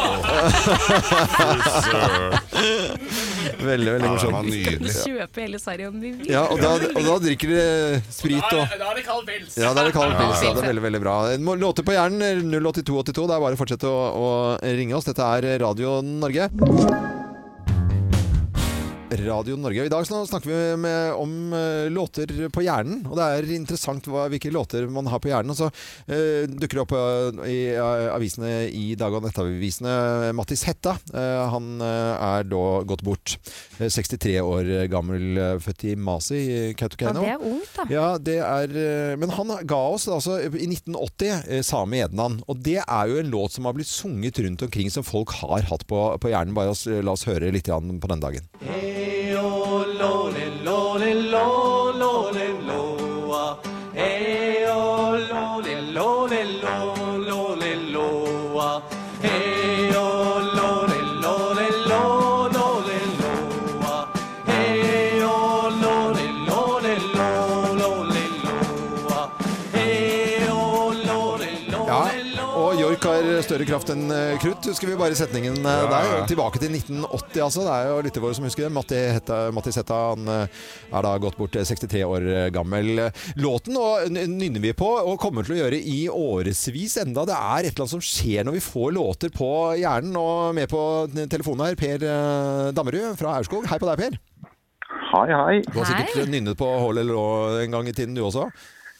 Veldig, veldig
det var
morsomt.
Vi kjøper hele Sverige om vi vil.
Ja, og da, og da drikker de sprit og
er det kald pils.
Ja, det er det kald pils. Ja, det er veldig, veldig bra. Må- Låter på hjernen 08282. Det er bare å fortsette å, å ringe oss. Dette er Radio Norge. Radio Norge. I dag snak- snakker vi med, om eh, låter på hjernen. Og det er interessant hva, hvilke låter man har på hjernen. Og så eh, dukker det opp eh, i eh, avisene i dag og nettavisene Mattis Hetta. Eh, han eh, er da gått bort. Eh, 63 år gammel, eh, født i Masi i Kautokeino.
Ja, det er ungt, da.
Ja, det er, eh, men han ga oss altså, i 1980 eh, Same Ednan. Og det er jo en låt som har blitt sunget rundt omkring, som folk har hatt på, på hjernen. Bare oss, eh, la oss høre litt grann på den dagen.
Eo, lole, lole, lo, lole, loa. Eo, lole, lole, lo, lole, loa. oh, Eo, lole, lole, lo, lole, loa. oh, Eo, lole, lole, lo, lole, loa. oh, Eo, lole,
Ja,
lole,
og York har større kraft enn eh, krutt, husker vi bare setningen eh,
Ja,
der.
ja, ja.
Tilbake til 1980, altså. Det er jo lyttere våre som husker det. Matti Hetta, Mattis Hetta han eh, er da gått bort eh, 63 år eh, gammel. Låten og n- nynner vi på, og kommer til å gjøre i årevis enda. Det er et eller annet som skjer når vi får låter på hjernen. Og med på n- telefonen her, Per eh, Dammerud fra Aurskog. Hei på deg, Per.
Hei, hei.
Du har sikkert nynnet på Hål eller Lå en gang i tiden, du også?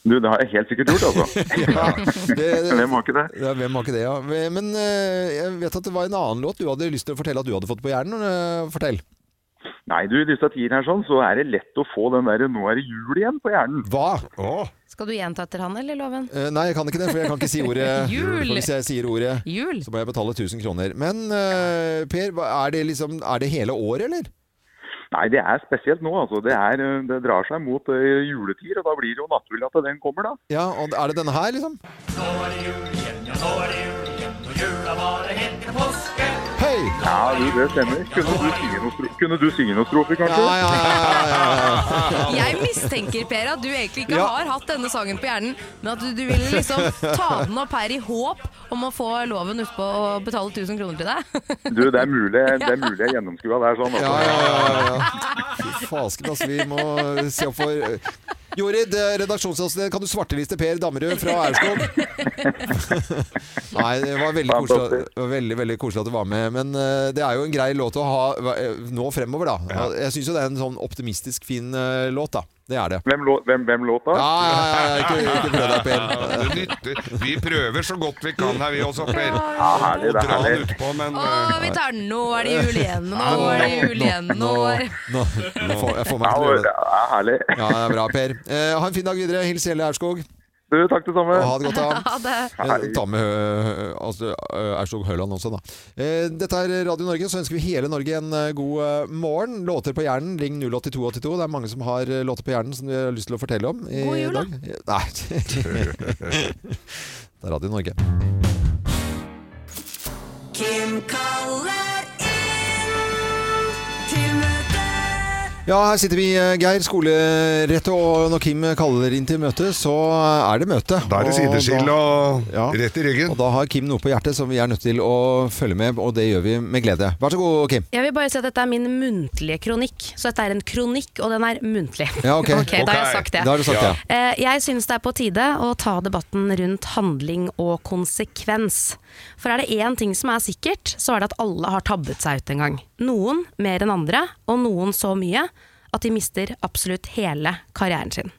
Du, det har jeg helt sikkert gjort, altså.
(laughs)
Hvem har ikke det?
Ja, hvem har ikke det, ja. Men eh, jeg vet at det var en annen låt du hadde lyst til å fortelle at du hadde fått på hjernen. eh, fortell.
Nei, du, i disse tider her sånn, så er det lett å få den der 'nå er det jul igjen' på hjernen.
Hva?
Skal du gjenta etter han, eller, Loven?
Eh, nei, jeg kan ikke det, for jeg kan ikke si ordet.
Jul.
For Hvis jeg sier ordet, så må jeg betale 1000 kroner. Men eh, Per, hva- er det, liksom, er det hele året, eller?
Nei, det er spesielt nå, altså. Det, er, eh, det drar seg mot eh, juletid, og da blir det jo naturlig at den kommer, da.
Ja, og er det denne her, liksom?
Nå er det jul igjen, ja nå er det jul igjen, og jula varer helt til påske.
Hei!
Ja, du, det stemmer. Kunne du synge noen, stro kunne du synge noen strofer, kanskje?
Ja, ja, ja,
Jeg Jeg mistenker, Per, at du egentlig ikke
Ja.
har hatt denne sangen på hjernen, men at du, du ville liksom ta den opp her i håp om å få loven utpå og betale 1000 kroner til deg.
(laughs) Du, det er mulig, det er mulig jeg gjennomskua der sånn. Altså.
Fy fasken, altså. Vi må se opp for eh, Jorid, redaksjonsassistent, kan du svarteliste Per Dammerud fra Aurskog? Nei, det var veldig koselig, det var veldig, veldig koselig at du var med. Men eh, det er jo en grei låt å ha eh, nå fremover, da. Jeg syns jo det er en sånn optimistisk fin eh, låt, da. Det er det.
Hvem, lå- hvem, hvem låta?
Ja, ja, ja, ja, ikke, ikke prøv deg, Per.
Det nytter. Vi prøver så godt vi kan her, vi også, Per.
Ja, herlig, det er
Dra den
herlig.
utpå, men eh,
Å, vi tar den! Nå er det jul igjen,
Nei,
nå er det
nå-
jul igjen, nå er
Nå, nå får, jeg får meg til å gjøre det.
Ja, herlig.
Ja, det er bra, Per. Eh, ha en fin dag videre. Hils Helle Aurskog.
Du, takk det samme.
Ha det godt, da.
Ha det.
Eh, Ta med eh, altså, eh, Aurskog Høland også, da. Eh, Dette er Radio Norge, så ønsker vi hele Norge en eh, god eh, morgen. Låter på hjernen, ring 08282. Det er mange som har eh, låter på hjernen som de har lyst til å fortelle om i
God jul, da.
dag. Eh, Nei. (laughs) det er Radio Norge.
Kim kaller inn til møte.
Ja, her sitter vi, eh, Geir, skolerett, og når Kim kaller inn til møte, så er det møte.
Da er det sideskill
og
da- rett i ryggen.
Og da har Kim noe på hjertet som vi er nødt til å følge med, og det gjør vi med glede. Vær så god, Kim.
Jeg vil bare si at dette er min muntlige kronikk. Så dette er en kronikk, og den er muntlig.
Ja,
(laughs)
ok.
Da har
Ok.
jeg sagt det.
Da har du sagt det.
Eh, Jeg syns det er på tide å ta debatten rundt handling og konsekvens. For er det én ting som er sikkert, så er det at alle har tabbet seg ut en gang. Noen mer enn andre, og noen så mye at de mister absolutt hele karrieren sin.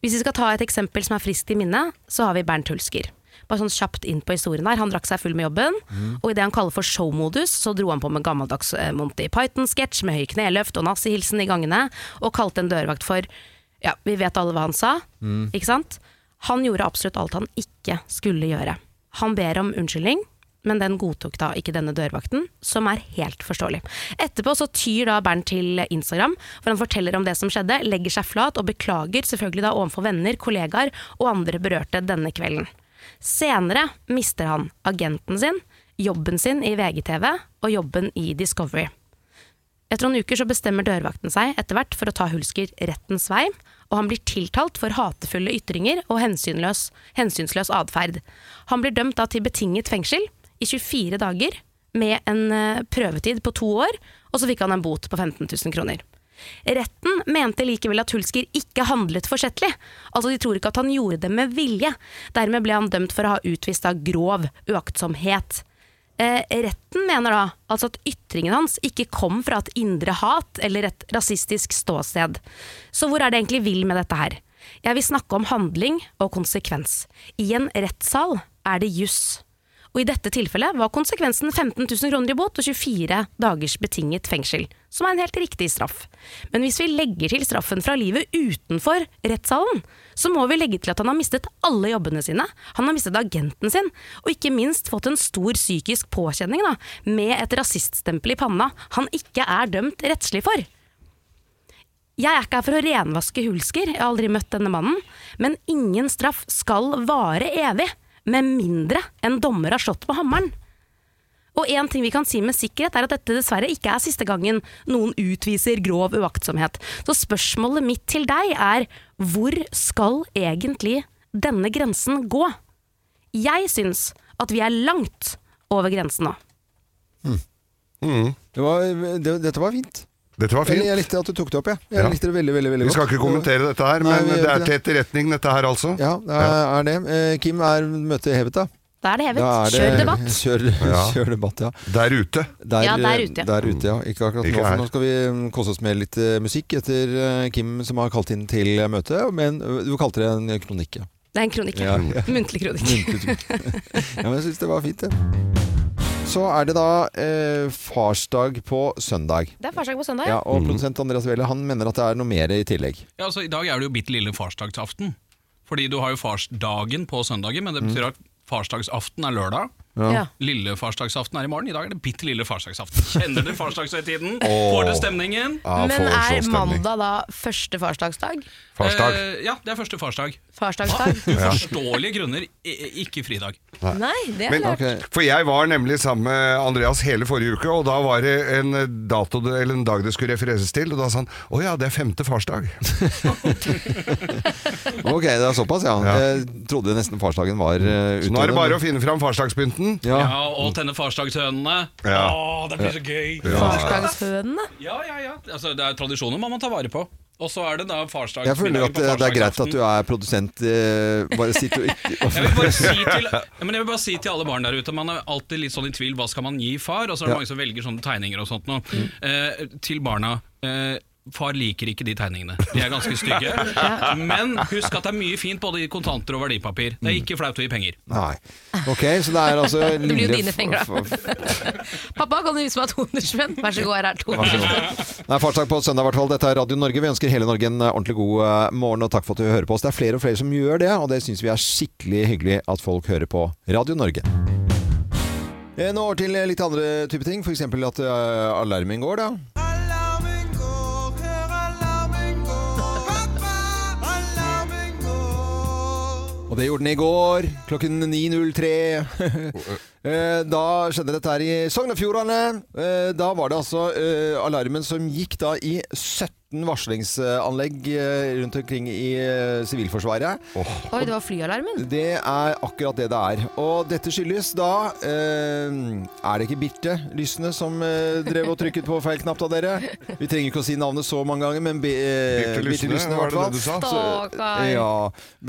Hvis vi skal ta et eksempel som er friskt i minne, så har vi Bernt Hulsker. Bare sånn kjapt inn på historien her. Han drakk seg full med jobben, og i det han kaller for showmodus, så dro han på med gammeldags eh, Monty Python-sketsj med høy kneløft og nazihilsen i gangene, og kalte en dørvakt for Ja, vi vet alle hva han sa,
Mm.
ikke sant? Han gjorde absolutt alt han ikke skulle gjøre. Han ber om unnskyldning, men den godtok da ikke denne dørvakten, som er helt forståelig. Etterpå så tyr da Bernt til Instagram, hvor han forteller om det som skjedde, legger seg flat og beklager selvfølgelig da overfor venner, kollegaer og andre berørte denne kvelden. Senere mister han agenten sin, jobben sin i VGTV og jobben i Discovery. Etter noen uker så bestemmer dørvakten seg etter hvert for å ta Hulsker rettens vei, og han blir tiltalt for hatefulle ytringer og hensynløs, hensynsløs atferd. Han blir dømt da til betinget fengsel i 24 dager med en eh, prøvetid på to år, og så fikk han en bot på 15 000 kroner. Retten mente likevel at Hulsker ikke handlet forsettlig. Altså De tror ikke at han gjorde det med vilje. Dermed ble han dømt for å ha utvist av grov uaktsomhet. Eh, retten mener da altså at ytringen hans ikke kom fra et indre hat eller et rasistisk ståsted. Så hvor er det egentlig vil med dette her? Jeg vil snakke om handling og konsekvens. I en rettssal er det juss. Og i dette tilfellet var konsekvensen 15 000 kroner i bot og 24 dagers betinget fengsel, som er en helt riktig straff. Men hvis vi legger til straffen fra livet utenfor rettssalen, så må vi legge til at han har mistet alle jobbene sine, han har mistet agenten sin, og ikke minst fått en stor psykisk påkjenning da, med et rasiststempel i panna han ikke er dømt rettslig for. Jeg er ikke her for å renvaske hulsker, jeg har aldri møtt denne mannen, men ingen straff skal vare evig, med mindre en dommer har slått med hammeren. Og en ting vi kan si med sikkerhet er at dette dessverre ikke er siste gangen noen utviser grov uaktsomhet. Så spørsmålet mitt til deg er hvor skal egentlig denne grensen gå? Jeg syns at vi er langt over grensen nå.
Det var, eh, det, dette var fint.
Dette var fint.
Jeg, jeg likte at du tok det opp, jeg. Jeg
Ja.
likte det veldig, veldig, veldig
Vi
godt.
skal ikke kommentere dette her,
Nei,
men
vi gjør
det er
ikke
til etterretning, dette her altså.
Ja, det er, er det. Eh, Kim, er møtet hevet, da?
Da er det hevet.
Da er det-
Kjør debatt.
(laughs) Kjør,
Ja.
kjør debatt, ja.
Der ute.
Der, eh,
Ja, der ute, ja.
der ute, ja. Ikke akkurat
Ikke
nå,
her.
for nå skal vi mm, kose oss med litt eh, musikk etter eh, Kim som har kalt inn til eh, møte. Men eh, du kalte det en
(laughs)
kronikke.
Det er en kronikk.
Ja, Mm. ja.
Muntlig kronikk.
Ja, men jeg syns det var fint, det. Så er det da eh, farsdag på søndag.
det er farsdag på søndag.
Ja,
Mm.
og produsent Andreas Welle han mener at det er noe mer i tillegg.
Ja, altså, I dag er det jo bitte lille farsdagsaften. Fordi du har jo farsdagen på søndager, men det betyr at farsdagsaften er lørdag.
Ja. Ja.
Lille farsdagsaften er i morgen. I dag er det bitte lille farsdagsaften. Kjenner dere farsdagshøytiden?
Åh.
Får dere stemningen?
Men er mandag da første farsdagsdag?
Farsdag.
Eh, ja, det er første farsdag.
(laughs)
Farsdagsdag.
Av Uforståelige grunner i- ikke fridag.
Nei, det er
Men,
lurt.
For jeg var nemlig sammen med Andreas hele forrige uke, og da var det en, dato, det- eller en dag det skulle refereres til, og da sa han å ja, det er femte farsdag.
Ok, det er såpass, ja. Jeg trodde nesten farsdagen var uh,
Så nå er det bare å finne fram farsdagspynten.
Ja.
Ja, og tenne farsdagshønene.
Ja.
Åh, det blir så gøy!
Ja.
Farsdagshønene?
Ja, ja, ja. Altså, det er tradisjoner man må ta vare på. Og så er det da farsdag
Jeg føler
middagen
at
på
eh, det er greit at
farsdagsaften.
du er produsent. eh, bare sitt og
(laughs)
ikke
Jeg vil bare si til, ja, men jeg vil bare si til alle barn der ute Man er alltid litt sånn i tvil, hva skal man gi far? Og så er det
Ja.
mange som velger sånne tegninger og sånt nå. Eh, til barna eh, Far liker ikke de tegningene. De er ganske stygge.
Ja.
Men husk at det er mye fint både i kontanter og verdipapir. Det er ikke flaut å gi penger.
Nei. Ok, så det er altså
Det blir jo
lille
dine penger, da. Pappa, kan du vise meg 200 spenn? Vær så god, her er 200 spenn.
Det er farsdag på søndag i hvert fall. Dette er Radio Norge. Vi ønsker hele Norge en eh, ordentlig god eh, morgen, og takk for at du hører på oss. Det er flere og flere som gjør det, og det syns vi er skikkelig hyggelig at folk hører på Radio Norge. Eh, Nå over til eh, litt andre type ting, f.eks. at eh, alarmen går, da. Og det gjorde den i går, klokken 9.03. (laughs) Eh, da skjedde dette her i Sogn og Fjordane. Eh, Da var det altså eh, alarmen som gikk da i 17 varslingsanlegg eh, rundt omkring i eh, Sivilforsvaret.
Oi, det var flyalarmen.
Det er akkurat det det er. Og dette skyldes da eh, Er det ikke Birte Lysne som eh, drev og trykket på feil knapp av dere? Vi trenger ikke å si navnet så mange ganger, men Bi- eh,
Birte Lysne,
Birte Lysne, i
var
hvert
det
fall.
det du sa?
Så-
Stakkar.
Ja.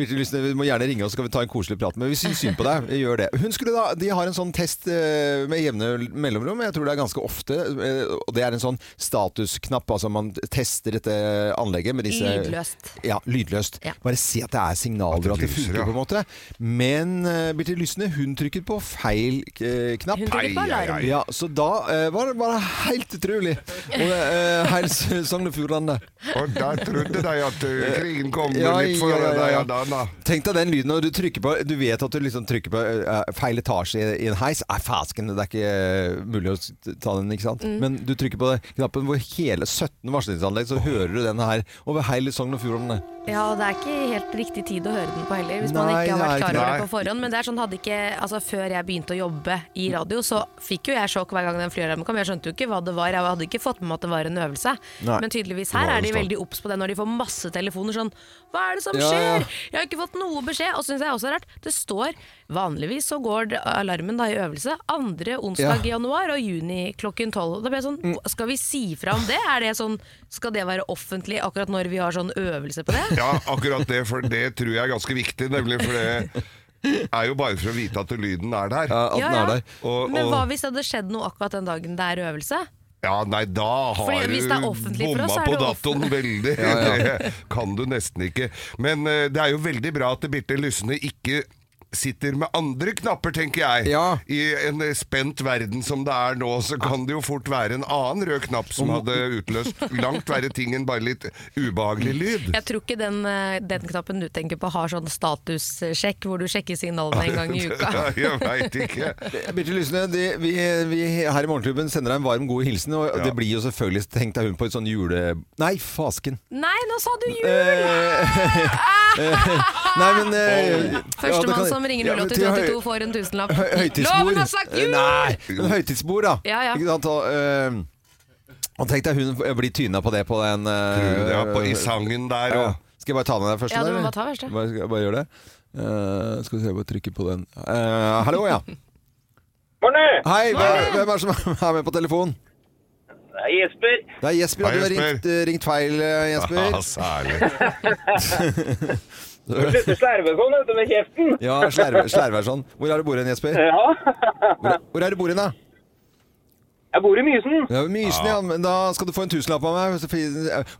Birte Lysne, vi må gjerne ringe oss, så skal vi ta en koselig prat. Men vi syns synd på deg. Gjør det. Hun skulle da, de har en sånn test eh, med jevne mellomrom, jeg tror det er ganske ofte. eh, Og det er en sånn statusknapp, altså man tester dette anlegget med disse
Lydløst.
ja, lydløst. Bare se at det er signaler, at det,
lyser,
funker
ja.
på en måte. Men uh, Birte Lysne, hun trykket på feil eh, knapp.
Hun trykket på Ai, ai, alarm. ai.
Ja, så da eh, var det bare helt utrolig. Og uh, hele Sogn og Fjordane.
Og da trodde de at eh, krigen kom litt for deg, ja, da, da.
Tenk deg den lyden når du trykker på Du vet at du liksom trykker på eh, feil etasje i, i en heis. Nei, fasken, det er ikke eh, mulig å s- ta den, ikke sant?
Mm.
Men du trykker på knappen hvor hele 17 varslingsanlegg, så hører du den her over hele Sogn og Fjordane.
Ja, og det er ikke helt riktig tid å høre den på heller, hvis man
Nei,
ikke har vært
det er ikke
klar over det
det.
på forhånd. Men det er sånn, hadde ikke, altså før jeg begynte å jobbe i radio, så fikk jo jeg sjokk hver gang den flyalarmen kom. Jeg skjønte jo ikke hva det var, jeg hadde ikke fått med meg at det var en øvelse.
Nei,
Men tydeligvis
det
her
var
er de
en stand.
veldig obs på det når de får masse telefoner sånn Hva er det som
Ja, ja.
skjer? Jeg har ikke fått noe beskjed. Og syns jeg også er rart, det står vanligvis så går det- alarmen da i øvelse andre onsdag i
Ja.
januar og juni klokken tolv. Da ble jeg
Mm.
sånn, skal vi si fra om det? Er det sånn, skal det være offentlig akkurat når vi har sånn øvelse på det?
Ja, akkurat det, for det tror jeg er ganske viktig, nemlig for det er jo bare for å vite at lyden er der.
Ja,
at den Ja, er ja. der.
Og,
Men hva
og,
hvis det hadde skjedd noe akkurat den dagen det er øvelse?
ja, nei, da
Fordi
har
hvis det er offentlig for
bomma
oss, så er
på
det
datoen
(laughs)
veldig.
Ja, ja.
Det (laughs) kan du nesten ikke. Men eh, det er jo veldig bra at Birte Lysne ikke sitter med andre knapper, tenker jeg. I en eh, spent verden som det er nå, så kan det jo fort være en annen rød knapp som hadde utløst langt verre ting enn bare litt ubehagelig lyd.
Jeg tror ikke den, eh, den knappen du tenker på har sånn statussjekk hvor du sjekker signalene (laughs)
(laughs)
en gang
(laughs)
i uka.
Jeg veit ikke.
Eh, Birte Lysne, de, vi, vi her i Morgenklubben sender deg en varm, god hilsen. Og det blir jo selvfølgelig tenkt av hun på et sånn jule... Nei, fasken!
Nei, nå sa du jul!
Eh, (laughs) Nei, men eh, ja, det
Førstemann
kan-
som ringer
Ja, men til
08282
høy-
får en tusenlapp.
høy- høytidsbord. Eh,
Loven har sagt jul!
Nei, men høytidsbord, da.
Ja, ja.
Ikke sant? Og, eh, og tenk deg hun blir tyna på det på den
Tror du det, ja,
eh,
på- i sangen der,
ja.
og-
Skal jeg bare ta med deg først?
Ja, du må
eller?
bare ta først, ja.
Bare, bare gjør det. Eh, skal vi se, jeg bare trykke på den. Eh, hallo, ja. Hei, hvem, hvem er det som er med på telefon?
Det er Jesper.
Det er Jesper, og
Hei,
du har
Jesper.
ringt, eh, ringt feil, eh, Jesper.
(laughs) Ja,
særlig.
Slutter slerve sånn, vet du, med kjeften.
(laughs) ja, slerve- slerver sånn. Hvor er du bor hen, Jesper?
Ja.
Hvor, hvor er du bor hen, da?
Jeg bor i Mysen.
Ja, Mysen, ja. Men da skal du få en tusenlapp av meg. Så fi-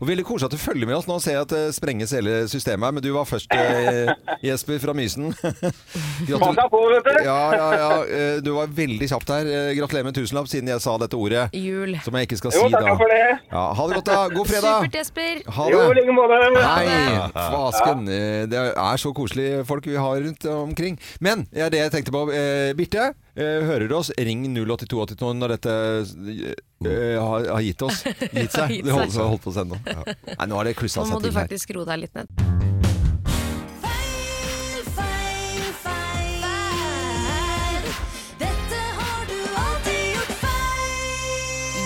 Og veldig koselig at du følger med oss. Nå ser jeg at det sprenges hele systemet her, men du var først,
(laughs)
eh, Jesper fra Mysen. (laughs)
Pass deg på, vet du.
Ja, ja, ja. Eh, Du var veldig kjapt her. Eh, Gratulerer med en tusenlapp siden jeg sa dette ordet.
Jul.
Som jeg ikke skal
Jo,
si
takk
da.
for det.
Ja, ha det godt, da. God fredag.
Supert, Jesper.
Ha det.
Jo, i like måte.
Nei, fasken. Eh, Det er så koselige folk vi har rundt omkring. Men ja, det jeg tenkte på, eh, Birte. eh, hører du oss, ring 08282 når dette eh, har, har gitt oss. Gitt
Har
seg.
(laughs) gitt
Det holdt,
seg.
holdt på å sende nå. Ja. Nei, nå har det klussa
Nå må
seg
du
til her.
faktisk roe deg litt ned.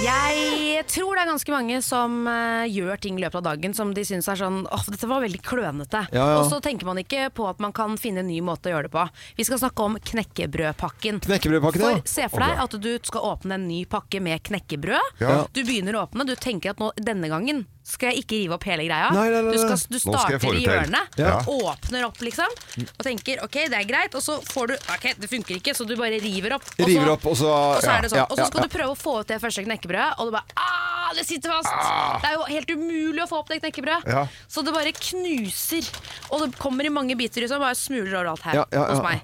Jeg tror det er ganske mange som eh, gjør ting i løpet av dagen som de syns er sånn åh, dette var veldig klønete.
Ja, ja.
Og så tenker man ikke på at man kan finne en ny måte å gjøre det på. Vi skal snakke om knekkebrødpakken.
Knekkebrødpakken, ja.
For se for
Å,
deg
bra.
at du skal åpne en ny pakke med knekkebrød.
Ja.
Du begynner å åpne, du tenker at nå, denne gangen skal jeg ikke rive opp hele greia.
Nei, nei, nei,
Du,
nei.
skal, du
Nå skal jeg
starter
få
i
det til.
hjørnet,
Ja.
åpner opp liksom, og tenker ok, det er greit, og så får du ok, det funker ikke, så du bare river opp. og
River
så-
opp, og så
og så er det sånn.
ja,
og så
ja,
skal
ja.
du prøve å få ut det første knekkebrødet, og du bare ah, det sitter fast! Det er jo helt umulig å få opp det knekkebrødet.
Ah. Ja.
Så det bare knuser. Og det kommer i mange biter ut, og bare smuler overalt her
Ja, ja, ja.
hos meg.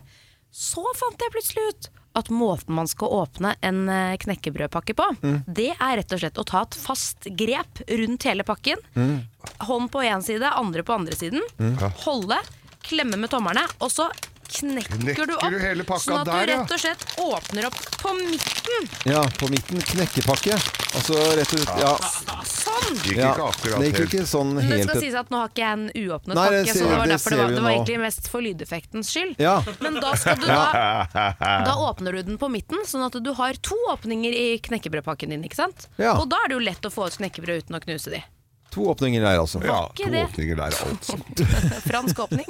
Så fant jeg plutselig ut at måten man skal åpne en eh, knekkebrødpakke på,
Mm.
det er rett og slett å ta et fast grep rundt hele pakken.
Mm.
Hånd på én side, andre på andre siden.
Mm. Ja.
Holde, klemme med tommelene, og så knekker,
Knekker
du opp.
du hele pakka
sånn at
der,
du
ja.
rett og slett åpner opp på midten.
Ja, på midten. Knekkepakke. Altså rett ut Ja.
Sånn!
Gikk ikke akkurat Det gikk ikke sånn
Men det
helt
skal sies at nå har ikke jeg en uåpnet
Nei, det
pakke, så
ser-
det var
det
derfor det
ser
var,
vi
det var
nå.
egentlig mest for lydeffektens skyld.
Ja.
Men da skal du da da åpner du den på midten, sånn at du har to åpninger i knekkebrødpakken din. ikke sant?
Ja.
Og da er det jo lett å få ut knekkebrød uten å knuse de.
To åpninger der, altså.
Ja, Var ikke to det?
åpninger der, altså.
Fransk åpning.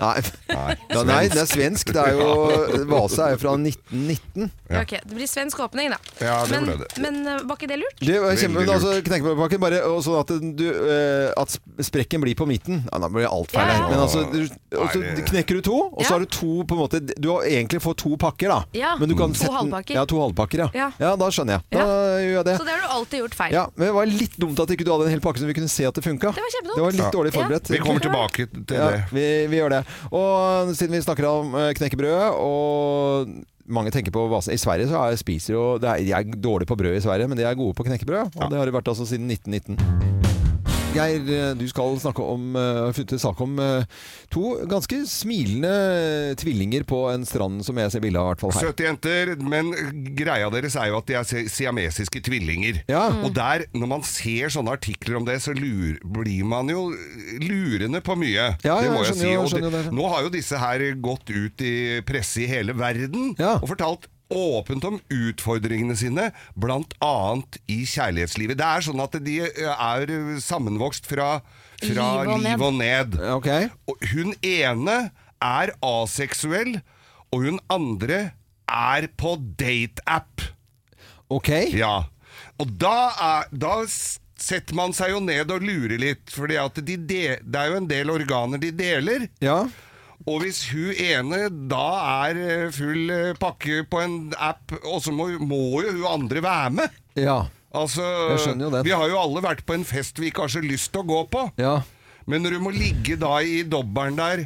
Nei. Nei, nei, det er svensk. Det er jo Vasa er jo fra 1919.
Ja. Ok, Det blir svensk åpning, da.
Ja, det
men,
ble det.
men eh, var ikke det lurt?
Det var kjempe, men altså, knekkebrødpakken bare og sånn at, du, eh, at sp- sprekken blir på midten. Ja, da blir det alt feil.
Ja,
her.
ja.
Men altså, du, og så
Nei, det-
knekker du to, og så har du to på en måte Du har egentlig får to pakker, da.
Ja,
men du kan
to
sette den-
halvpakker.
Ja, to halvpakker. Ja.
Ja.
Ja. da skjønner jeg. Da gjør jeg det.
Så det har du alltid gjort feil.
Ja, men det var litt dumt at ikke du hadde en hel pakke så vi kunne se at det funka.
Det var kjempedumt.
Det var litt dårlig
Ja.
forberedt.
Vi kommer tilbake til
Ja,
det.
Vi, vi gjør det. Og siden vi snakker om eh, knekkebrød og mange tenker på Vasa. I Sverige så er, spiser jo det er, De er dårlige på brød i Sverige, men de er gode på knekkebrød. Og det har de vært altså siden 1919. Geir, eh, du skal snakke om eh, har funnet en sak om eh, to ganske smilende tvillinger på en strand som jeg ser bilde av, i hvert fall her.
Søte jenter, men greia deres er jo at de er si- siamesiske tvillinger.
Mm.
Og der, når man ser sånne artikler om det, så lur, blir man jo lurende på mye.
Ja, ja,
det må
jeg
jeg,
skjønner
si.
jo-
Og
skjønner jo det.
nå har jo disse her gått ut i presse i hele verden og fortalt åpent om utfordringene sine, blant annet i kjærlighetslivet. Det er sånn at de er sammenvokst fra, fra
Liv og ned.
liv og ned. Og hun ene er aseksuell, og hun andre er på dateapp.
Ok.
Ja. Og da, er, da s- setter man seg jo ned og lurer litt, for de de, det er jo en del organer de deler. Og hvis hun ene da er eh, full eh, pakke på en app, og så må, må jo hun andre være med.
Ja.
Altså,
Jeg skjønner jo det.
Vi har jo alle vært på en fest vi ikke har så lyst til å gå på. Men når du må ligge da i dobbelen der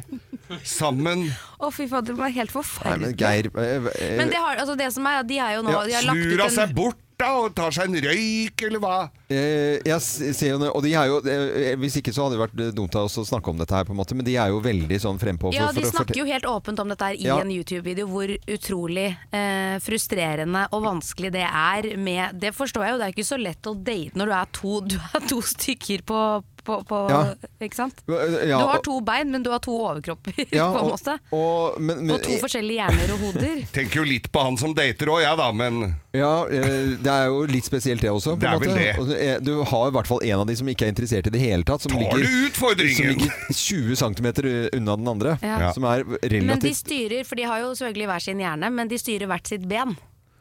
sammen
Å, fy fader, det var helt
Nei,
forferdelig.
men Geir eh, eh,
Men det, har, altså det som er, de er jo nå de
ja,
har lagt ut
Snur
en-
hun seg bort da og tar seg en røyk, eller hva?
Eh, Jeg s- ser jo, det- og de er jo eh, Hvis ikke så hadde det vært dumt av oss å snakke om dette her, på en måte, men de er jo veldig sånn frempå.
Ja, de
å
snakker
fortelle-
jo helt åpent om dette her i
Ja.
en YouTube-video, hvor utrolig eh, frustrerende og vanskelig det er med Det forstår jeg jo, det er ikke så lett å date når du er to, du er to stykker på, på, på
Ja.
Ikke sant?
ja,
du har
og-
to bein, men du har to overkropper, (laughs)
Ja,
på en
og-
måte.
Og, men, men,
og to forskjellige hjerner og
(laughs)
hoder.
Tenker jo litt på han som dater òg, jeg da, men
Ja, eh, det er jo litt spesielt det også. på
Det er
en
vel
måte.
det.
Og eh, Du har i hvert fall en av de som ikke er interessert i det hele tatt. Som
Tar
ligger,
du utfordringen?
Som ligger 20 cm unna den andre.
Ja.
Som er
Men de
relativt
styrer, for de har jo selvfølgelig hver sin hjerne, men de styrer hvert sitt ben.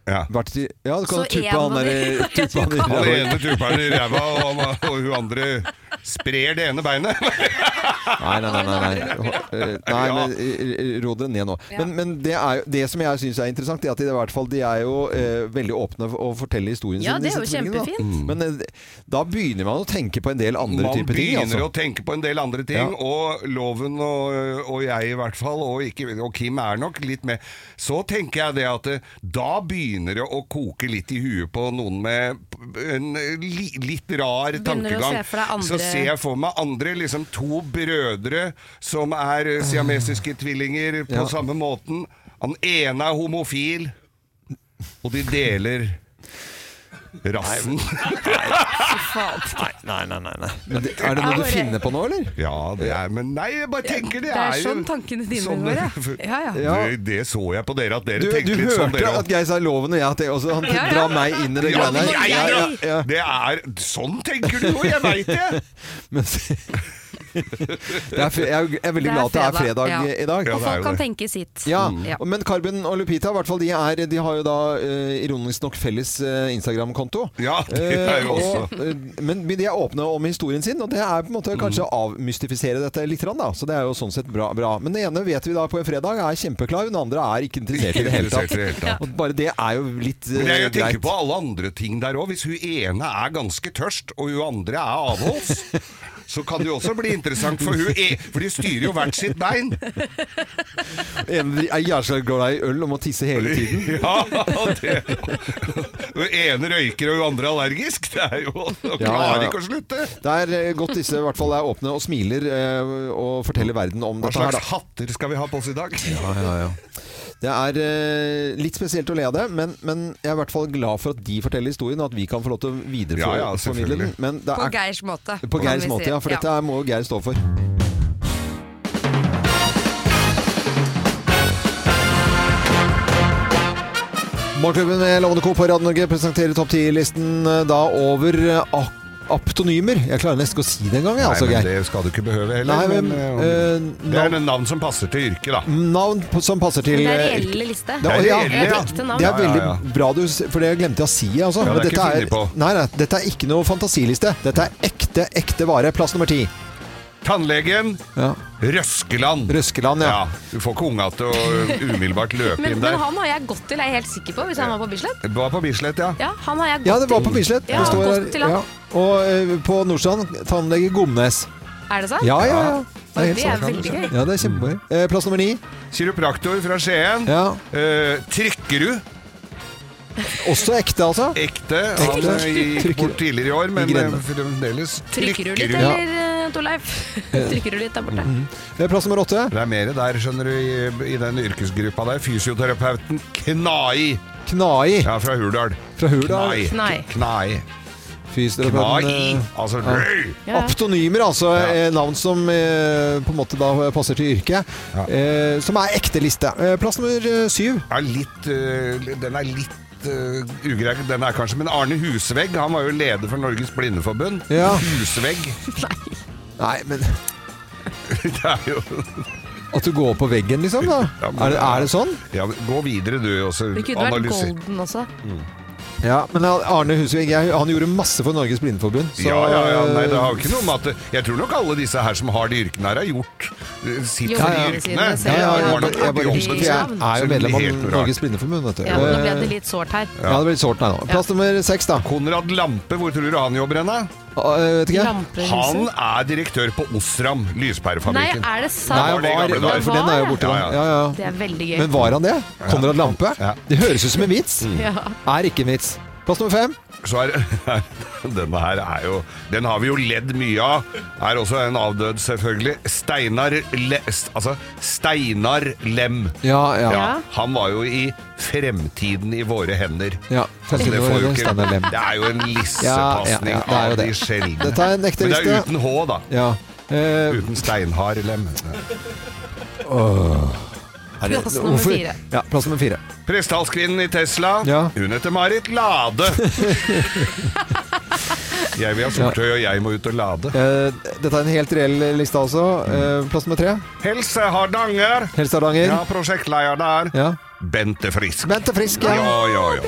Ja,
vært i- ja du kan
Så
jo tuppe
en
han
av de-
der tuppe
(laughs)
han i
Han
ræva.
ene tupper han i ræva, og, han- og hun andre sprer det ene beinet.
Nei, nei, nei. nei, nei. Eh, nei men eh, ro dere ned nå. Men, men det, er, jo- det som jeg syns er interessant, er at de, i hvert fall, de er jo eh, veldig åpne for å fortelle historien
Ja,
sin,
det er jo
disse tvillingene, da.
kjempefint.
Men eh, da begynner man å tenke på en del andre
Man
typer ting.
begynner
Altså.
å tenke på en del andre ting,
Ja.
og Loven og, og jeg i hvert fall, og, ikke, og Kim er nok litt med. Så tenker jeg det at eh, da begynner det å koke litt i huet på noen med p- en li, litt rar
Begynner å
tankegang.
se for deg andre-
Så ser jeg for meg andre, liksom to brødre som er eh, siamesiske tvillinger på
Ah. Ja.
samme måten. Han ene er homofil. Og de deler rassen.
Nei, nei, nei. nei, nei. Men det, er det noe du finner på nå, eller?
Ja, det er Men nei, jeg bare tenker det,
Det er
jo
sånn tankene dine
sånn
går,
det-
ja.
(laughs)
Ja, ja.
Det, det så jeg på dere, at dere
Du, du
tenkte litt sånn
hørte
dere også.
at Geir sa loven og jeg at det også, Han
Ja, ja.
drar meg inn i det
Ja,
greiene
jeg-
Ja, ja, ja.
Det er Sånn tenker du jo, jeg veit
(laughs)
det!
Men (laughs) se- det er, fre- jeg, er, jo- jeg er veldig glad at det er fredag i- i dag.
Og folk kan tenke sitt.
Ja,
Mm.
Mm.
Ja.
Men Carbon og Lupita i hvert fall, de, er, de har jo da eh, ironisk nok felles eh, Instagram-konto.
Ja, det er
Eh,
jo også.
og, eh, men, men de er åpne om historien sin, og det er på en måte
Mm.
kanskje å avmystifisere dette litt. grann, Da. Så det er jo sånn sett bra, bra. Men den ene vet vi da på en fredag er kjempeklar, hun andre er ikke interessert i det hele
Ikke interessert i det hele
tatt.
tatt.
Og bare det er jo litt eh,
Men jeg, jeg tenker
greit.
på alle andre ting der òg. Hvis hun ene er ganske tørst, og hun andre
(laughs)
er avholds, så kan det jo også bli interessant, for hun er, for de styrer jo hvert sitt bein.
En er jævla glad i øl og må tisse hele
(laughs)
tiden.
Ja, det Hun ene røyker, og hun andre er allergisk. Det er jo Hun
Ja, ja,
klarer
ja.
ikke å slutte.
Det er eh, godt disse i hvert fall er åpne og smiler eh, og forteller verden om
Hva
dette her.
slags
da.
hatter skal vi ha på oss i dag?
Ja, ja, ja. Det er eh, litt spesielt å le av det, men, men jeg er i hvert fall glad for at de forteller historien, og at vi kan få lov til å
Ja, ja,
videreformidle den.
selvfølgelig.
Men det
På
er,
Geirs måte.
på
kan
Geirs
vi
måte,
si.
ja. For dette er- må jo Geir stå for. Morgenklubben med Lovende Co. på Radio Norge presenterer Topp 10-listen eh, da over eh, ak- aptonymer. Jeg klarer nesten ikke å si det engang, jeg, altså,
Nei, men
Geir.
det skal du ikke behøve heller.
Nei, men,
men,
eh, Mm.
det er en navn som passer til yrket, da.
Navn på- som passer til
Men det er
eh,
reelle liste.
Det er, ja,
Et
det,
ekte navn.
det er veldig bra du s- For det glemte jeg å si. Altså.
Ja, det er
Men
ikke funnet på.
nei, nei, dette er ikke noe fantasiliste. Dette er ekte, ekte vare. Plass nummer ti.
Tannlegen Røskeland.
Røskeland,
ja. Du får ikke unga til å eh, umiddelbart løpe
Men,
inn
men
der.
han har jeg gått til, er jeg helt sikker på, hvis han var på Bislett.
Det var på Bislett, ja.
Ja, han har jeg gått
Ja, det var på Bislett.
Ja,
Det står
gått
her.
til han.
Ja. Og eh, på Nordstrand tannlege Gomnes.
Er det sant?
Ja, ja, ja.
Oi,
helt
Det er
sant.
veldig gøy.
Ja, det er kjempegøy. Eh, Plass nummer ni.
Kiropraktor fra Skien. Eh, Trykkerud.
Også ekte, altså.
Ekte. Han eh, gikk bort tidligere i år, men
I grenda.
eh, fremdeles
Trykker du litt,
Trykkerud.
eller, eh, Torleif? (laughs) Trykker du litt der borte?
Mhm. Eh, Plass nummer åtte.
Det er mer der, skjønner du, i, i den yrkesgruppa der. Fysioterapeuten Knai.
Knai?
Ja, fra Hurdal.
Fra Hurdal.
Knai.
Knai.
Knai.
Fysioterapeuten, eh,
Knai. Altså,
ja.
røy!
Ja. Aptonymer, altså eh, navn som eh, på en måte da passer til yrket. Eh, som er ekte liste. Eh, plass nummer eh, syv.
er litt øh, Den er litt øh, ugrei, den er kanskje. Men Arne Husvegg, han var jo leder for Norges Blindeforbund.
Ja.
Husvegg. (laughs)
Nei, men
Det er jo
At du går på veggen, liksom?
(laughs)
da Er det, er det sånn?
Ja, men Gå videre, du, og så
Det kunne vært
analyser.
Golden også.
Ja, men Arne Husvik jeg, han gjorde masse for Norges Blindeforbund. så-
ja, ja, ja, nei, det har jo ikke noe med at det- Jeg tror nok alle disse her som har de yrkene her, har gjort øh, sitt
Ja,
for
ja.
de yrkene.
Ja, ja,
Det var
jeg,
nok
bare- jeg, bare-
jobbet
jeg er jo
så
medlem
helt
av
rart.
Norges Blindeforbund, vet du.
Ja, nå ble
Eh,
det litt sårt her.
Ja, det ble litt sårt, nei da. Plass nummer seks, da. Eh,
Konrad Lampe, hvor tror du han jobber hen? da?
vet ikke.
Han er direktør på Osram, lyspærefabrikken.
Nei, er det sant? Nei,
i
var-
gamle dager.
nei, for den er jo borte, da. Ja, ja.
Det er veldig gøy.
Men var han det? Konrad Lampe? Det høres ut som en vits.
Mm.
Ja.
Er ikke en vits. Plass nummer fem.
Så er, (laughs) denne her er jo Den har vi jo ledd mye av. Er også en avdød, selvfølgelig. Steinar Le, s- Altså Steinar Lem.
Ja, ja.
Han var jo i Fremtiden i våre hender.
Ja,
Så det,
Fremtiden i våre
får
hender,
jo ikke,
Steinar Lem.
det er jo en
Ja,
lissepasning
ja, ja, det er jo
av de
det.
sjeldne.
Dette er en ekte
Men det
liste.
er uten H, da.
Ja. Eh,
uten steinhard lem.
Åh. Er det-
Plass nummer
hvorfor-
fire.
Ja, plass nummer fire.
Prestdalskvinnen i Tesla. Hun heter Marit
(laughs)
Lade. jeg vil ha soltøy, og jeg må ut og lade.
Eh, dette er en helt reell liste, altså. Eh, plass nummer tre.
Helse Hardanger.
Helse Hardanger.
Ja, prosjektleder der.
Ja.
Bente Frisk.
Bente Frisk, ja.
ja, ja, ja.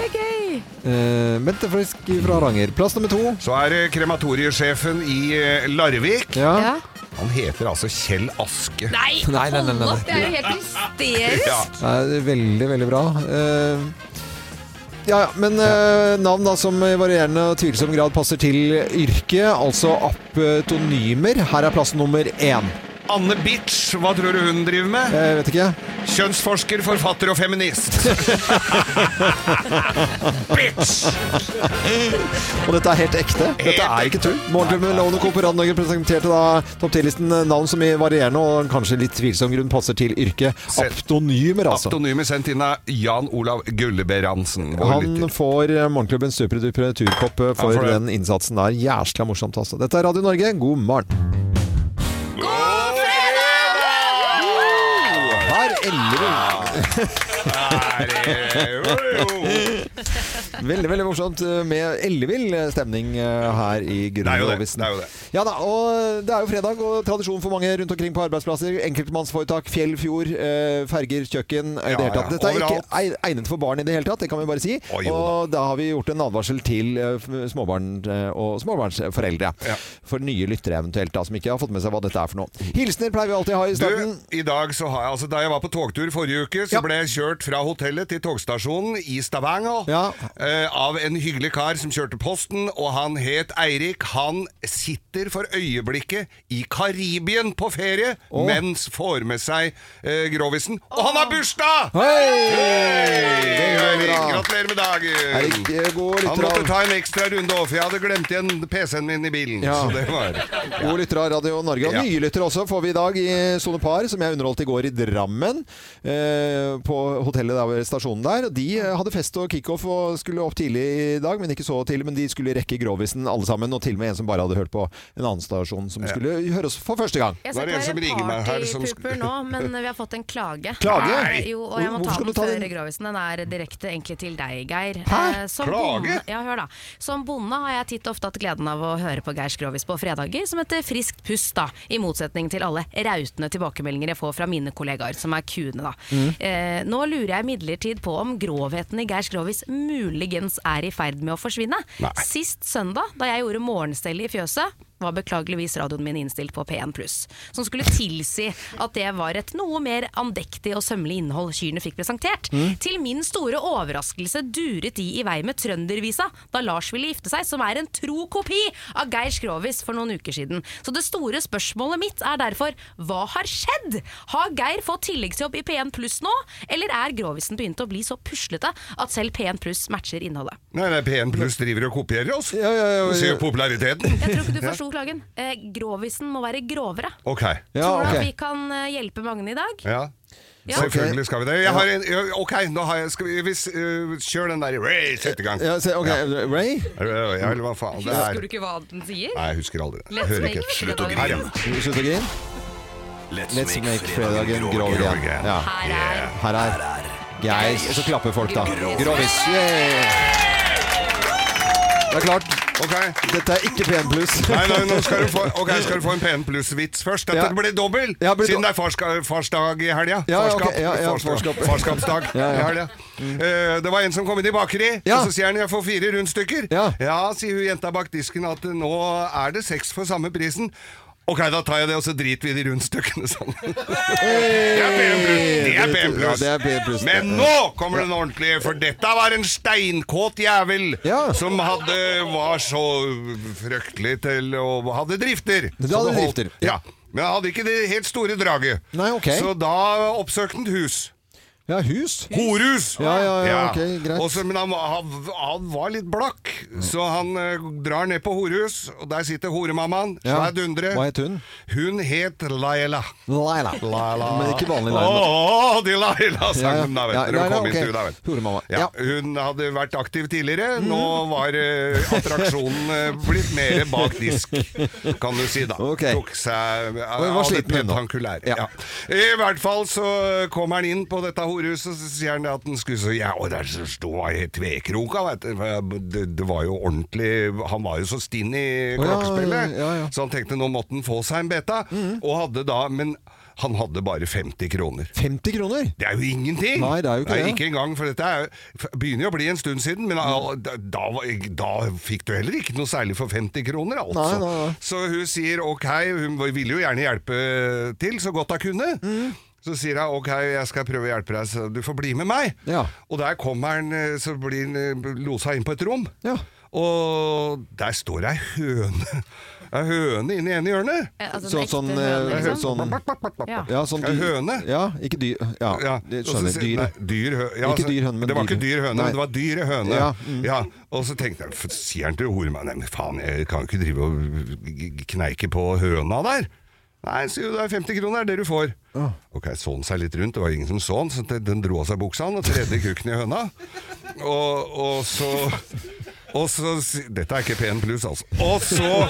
Eh, Bente Frisk fra Hardanger. Plass nummer to.
Så er det krematoriesjefen i eh, Larvik.
Ja. Ja.
Han heter altså Kjell Aske.
Nei,
Nei, nei, nei, nei,
hold
nei.
opp, det er jo helt
(laughs)
hysterisk!
Ja.
Nei, det er veldig, veldig bra. Eh, ja, ja, men eh, navn da som i varierende og tvilsom grad passer til yrket, altså aptonymer. Her er plass nummer én.
Anne Bitch, hva tror du hun driver med?
Jeg vet ikke.
Kjønnsforsker, forfatter og
(laughs)
feminist. Bitch!
Og dette er helt ekte. Dette er ikke tull. Morgenklubben med Lovende Co. på Radio Norge presenterte da topp 10-listen navn som i varierende og kanskje litt tvilsom grunn passer til yrket. Aptonymer, altså.
Aptonymet sendt inn av Jan Olav Gulleberg Hansen. Vår lytter.
Han får eh, morgenklubbens superduper turkopp eh,
Han
for
får det.
den innsatsen der. Jæskla morsomt, altså. Dette er Radio Norge, god morgen. Her Veldig, veldig morsomt eh, med ellevill stemning eh, her i
Det er jo det,
Grunnlovisen.
det er jo det.
Ja da, og det er jo fredag, og tradisjon for mange rundt omkring på arbeidsplasser. Enkeltmannsforetak, fjell, fjord, eh, ferger, kjøkken. eh, i det hele tatt.
ja,
Dette er ikke
overalt.
ei- egnet for barn i det hele tatt, det kan vi bare si.
Å, jo da.
og da har vi gjort en advarsel til eh, f- småbarn eh, og småbarnsforeldre. For nye lyttere eventuelt, da, som ikke har fått med seg hva dette er for noe. Hilsener pleier vi alltid å ha i starten.
Du, i dag så har jeg, altså Da jeg var på togtur forrige uke, så ble jeg kjørt fra hotellet til togstasjonen i Stavanger eh, av en hyggelig kar som kjørte posten, og han het Eirik. Han sitter for øyeblikket i Karibien på ferie,
Å.
mens får med seg eh, Grovisen. Og han har bursdag! Hei, Eirik, Gratulerer med dagen!
Eirik, eh, god lytter
han måtte
av-
ta en ekstra runde òg, for jeg hadde glemt igjen PC-en min i bilen.
Ja.
Så det var
God lytter av Radio Norge. Og
Ja.
nye lyttere også får vi i dag i Sone Par, som jeg underholdt i går i Drammen. Eh, på hotellet der ved stasjonen der. De eh, hadde fest og kickoff og skulle opp tidlig i dag, men ikke så tidlig. Men de skulle rekke Grovisen alle sammen, og til og med en som bare hadde hørt på en annen stasjon, som skulle høre oss for første gang.
Jeg skal ikke være partypooper nå, men vi har fått en klage.
Klage?
Nei. Jo, og jeg må
Hvor- hvor
ta
skal du
den
ta den?
før Grovisen. Den er direkte egentlig til deg, Geir.
Hæ?
Eh, Som
Klage?
bonde, ja, hør da. Som bonde har jeg titt og ofte hatt gleden av å høre på Geirs Grovis på fredager, som heter Friskt pust, da. I motsetning til alle rautende tilbakemeldinger jeg får fra mine kollegaer, som er kuene, da.
Mm.
Eh, nå lurer jeg midlertid på om grovheten i Geirs Grovis muligens er i ferd med å forsvinne.
Nei.
Sist søndag, da jeg gjorde morgenstellet i fjøset, var beklageligvis radioen min innstilt på P1 som skulle tilsi at det var et noe mer andektig og sømmelig innhold kyrne fikk presentert.
Mm.
Til min store overraskelse duret de i vei med Trøndervisa da Lars ville gifte seg, som er en tro kopi av Geir Skrovis for noen uker siden. Så det store spørsmålet mitt er derfor hva har skjedd? Har Geir fått tilleggsjobb i P1 Pluss nå, eller er Grovisen begynt å bli så puslete at selv P1 Pluss matcher innholdet?
Nei, nei, P1 Pluss driver og kopierer oss. Ja,
ja.
Se populariteten.
Jeg tror ikke du forsto klagen. Eh, grovisen må være grovere.
Ok.
tror du at vi kan eh, hjelpe Magne i dag?
Ja.
Ja.
Selvfølgelig skal vi det. Jeg har en, ja, ok, nå har jeg, skal vi, hvis, øh, kjør den der Ray, sett i gang.
Ja, se, ok, Ray?
Ja, eller hva faen det
Husker
er.
du ikke hva den sier?
Nei, jeg husker aldri det.
Let's
Hører
make
ikke.
Slutt å grine.
Slutt å grine. Let's make fredagen grov igjen. Ja. Her er Geir. Og så klapper folk, da.
Grovis.
Grovis. Yeah. Det er klart. Dette er ikke P1 pluss.
Nei, nei, nå skal du få,
(laughs)
ok, skal du få en PN Pluss-vits først. Dette
Ja.
blir dobbel,
Ja, blir
siden det er farska, farsdag i helga.
Ja, ja, ok,
Farskap-
ja, ja,
farskap-
farskap.
Farskapsdag
(laughs) Ja, ja.
i helga. Eh, det var en som kom inn i bakeri, og så sier han 'jeg får fire rundstykker'. Ja. sier hun jenta bak disken at nå er det seks for samme prisen. Ok, da tar jeg det, og så driter vi i de rundstykkene sammen. Det er PN Pluss! Det er PN Pluss. Men nå kommer den ordentlige, for dette var en steinkåt jævel som hadde, var så fryktelig til å Hadde drifter.
Det
Så
hadde
det holdt.
drifter,
Ja. Men han hadde ikke det helt store draget. Så da oppsøkte han et hus.
Ja, hus.
Horus!
Ja, ja, ja, ok, greit.
Og så- men han, var- han, han var litt blakk, så han eh, drar ned på horehus, og der sitter horemammaen.
Ja.
Svær dundre.
Hva het hun?
Hun het Laila.
Laila. Men ikke vanlig altså. Laila.
Å, de Laila-sangen, da, vet
Ja, ja. Ja,
dere. Hun
Laila,
kom inn
ok.
til, da, vet
Horemamma.
Ja, hun hadde vært aktiv tidligere.
Mhm.
Nå var eh, attraksjonen eh, blitt mer bak disk, kan du si, da. Tok seg eh,
Og hun var sliten, hun, da.
pentankulær. Ja. I hvert fall så kommer han inn på dette horehuset, og så sier han at han skulle så Ja, og der så sto han i tvekroka, vet du. for Det, det var jo ordentlig Han var jo så stinn i
Å, ja, Mm.
klokkespillet, så han tenkte nå måtte han få seg en beta, og hadde da Men han hadde bare 50 kroner.
50 kroner?
Det er jo ingenting!
Nei, det er jo ikke det.
Ikke engang, for dette er, jo- begynner jo å bli en stund siden, men al- da, da, var- da fikk du heller ikke noe særlig for 50 kroner, altså.
Nei, nei, nei.
Så hun sier ok, hun ville jo gjerne hjelpe til så godt hun kunne.
Mm.
Så sier hun ok, jeg skal prøve å hjelpe deg, så du får bli med meg. Og der kommer han, eh, så blir han eh, losa inn på et rom. Og der står ei høne (laughs) Det er høne inni ene hjørnet.
Eh,
Ja, altså
Så,
en ekte
sånn,
høne,
eh,
liksom?
sånn
Ja.
ja, sånn
En høne?
Ja, ikke dyr Ja, det
og så
skjønner.
sier-
Dyr.
nei, dyr hø ja,
ikke
så-
dyr høne, men
Det var
dyr.
ikke dyr høne,
Nei.
men det var dyre høne.
Ja,
Ja,
mm.
og så tenkte jeg, for sier han til horemannen, "Nei, men faen, jeg kan jo ikke drive og g- g- kneike på høna der. Nei, sier du, det er 50 kroner, det er det du får. Ok, så han seg litt rundt, det var ingen som så han, så den- den dro av seg buksa han og tredde kukken i høna. Og, og så... Og så, si- dette er ikke PN pluss, altså. Og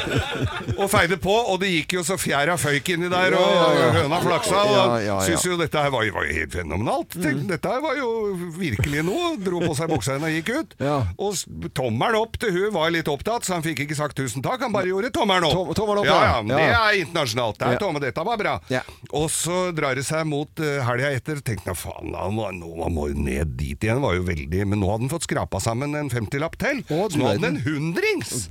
så Og feide på, og det gikk jo så fjæra føyk inni der, og
Ja, ja, ja.
høna flaksa. Og
Ja, ja, Mm. ja.
syntes jo dette her var, jo- var jo helt fenomenalt. Tenk, Dette her var jo virkelig noe. Dro på seg buksa henne og gikk ut. Og s- tommelen opp til hun var litt opptatt, så han fikk ikke sagt tusen takk. Han bare gjorde tommelen opp.
Tom- tommelen opp,
ja,
ja.
ja, men Det
Ja.
er internasjonalt. Det
Ja.
er tommel, dette var bra. Og så drar det seg mot uh, helga etter. Tenkte jeg faen, han må, nå han må jo ned dit igjen. Var jo veldig, men nå hadde han fått skrapa sammen en 50-lapp til. så nå hadde han en hundrings!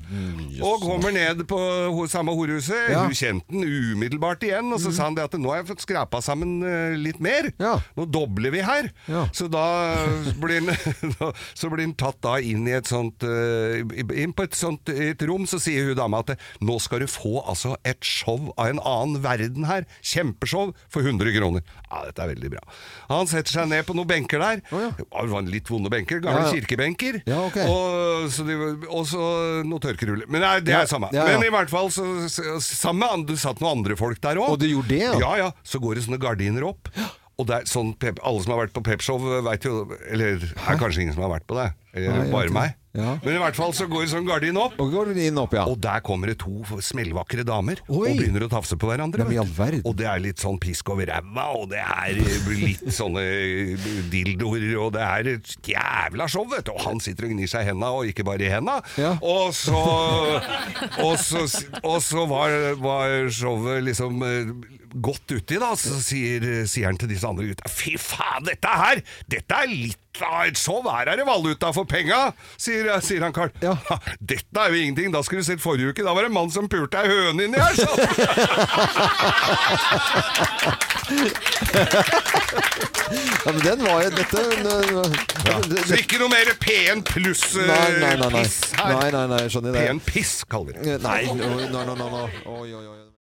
Og kommer ned på ho- samme horhuset.
Mm, Ja. Mm.
Hun kjente den umiddelbart igjen, og så sa han det at nå har jeg fått skrapa sammen eh, litt mer. Nå dobler vi her. Så da blir (laughs) han da- så blir han tatt da inn i et sånt eh, i- inn på et sånt et rom, så sier hun dama at nå skal du få altså et show av en annen verden her. Kjempeshow for 100 kroner. Ja, dette er veldig bra. Han setter seg ned på noen benker der. Det var litt vonde benker, gamle
Ja, ja.
kirkebenker.
Ja, ok.
og, så de, og så noen tørkeruller. Men nei, det
Ja,
er samme.
ja, ja.
Men i hvert fall så, så, sammen med andre, satt noen andre folk der òg.
Og du gjorde det, ja?
ja? Ja, Så går det sånne gardiner opp. Og det er sånn pep, alle som har vært på pepshow, veit jo Eller det er kanskje ingen som har vært på det. Eller
Nei, jeg vet
bare
ikke.
meg.
Ja.
Men i hvert fall så går det sånn gardin opp.
Og går inn opp, ja.
Og der kommer det to smellvakre damer
Oi.
og begynner å tafse på hverandre.
Nei, men i
vet du. og det er litt sånn pisk over ræva, og det er litt sånne dildoer, og det er et jævla show, vet du. Og han sitter og gnir seg i henda, og ikke bare i henda. Og så Og så, og så var, var showet liksom eh, godt uti, da. Så sier, sier han til disse andre gutta Fy faen, dette her! Dette er litt av et show! Her er det valuta for penga! Sier, sier han Carl. «Ha, Dette er jo ingenting! Da skulle du sett forrige uke, da var det en mann som pulte ei høne inni her! sa han.
Ja, men den var jo
(laughs)
Dette
Ja. Så ikke noe mer PN pluss eh,
Nei, nei, nei, nei.
piss her!
Nei, nei, nei, jeg skjønner det.
PN piss, kaller vi det.
Nei, nå- nå, nå, nå, nå. Oi, oi, oi.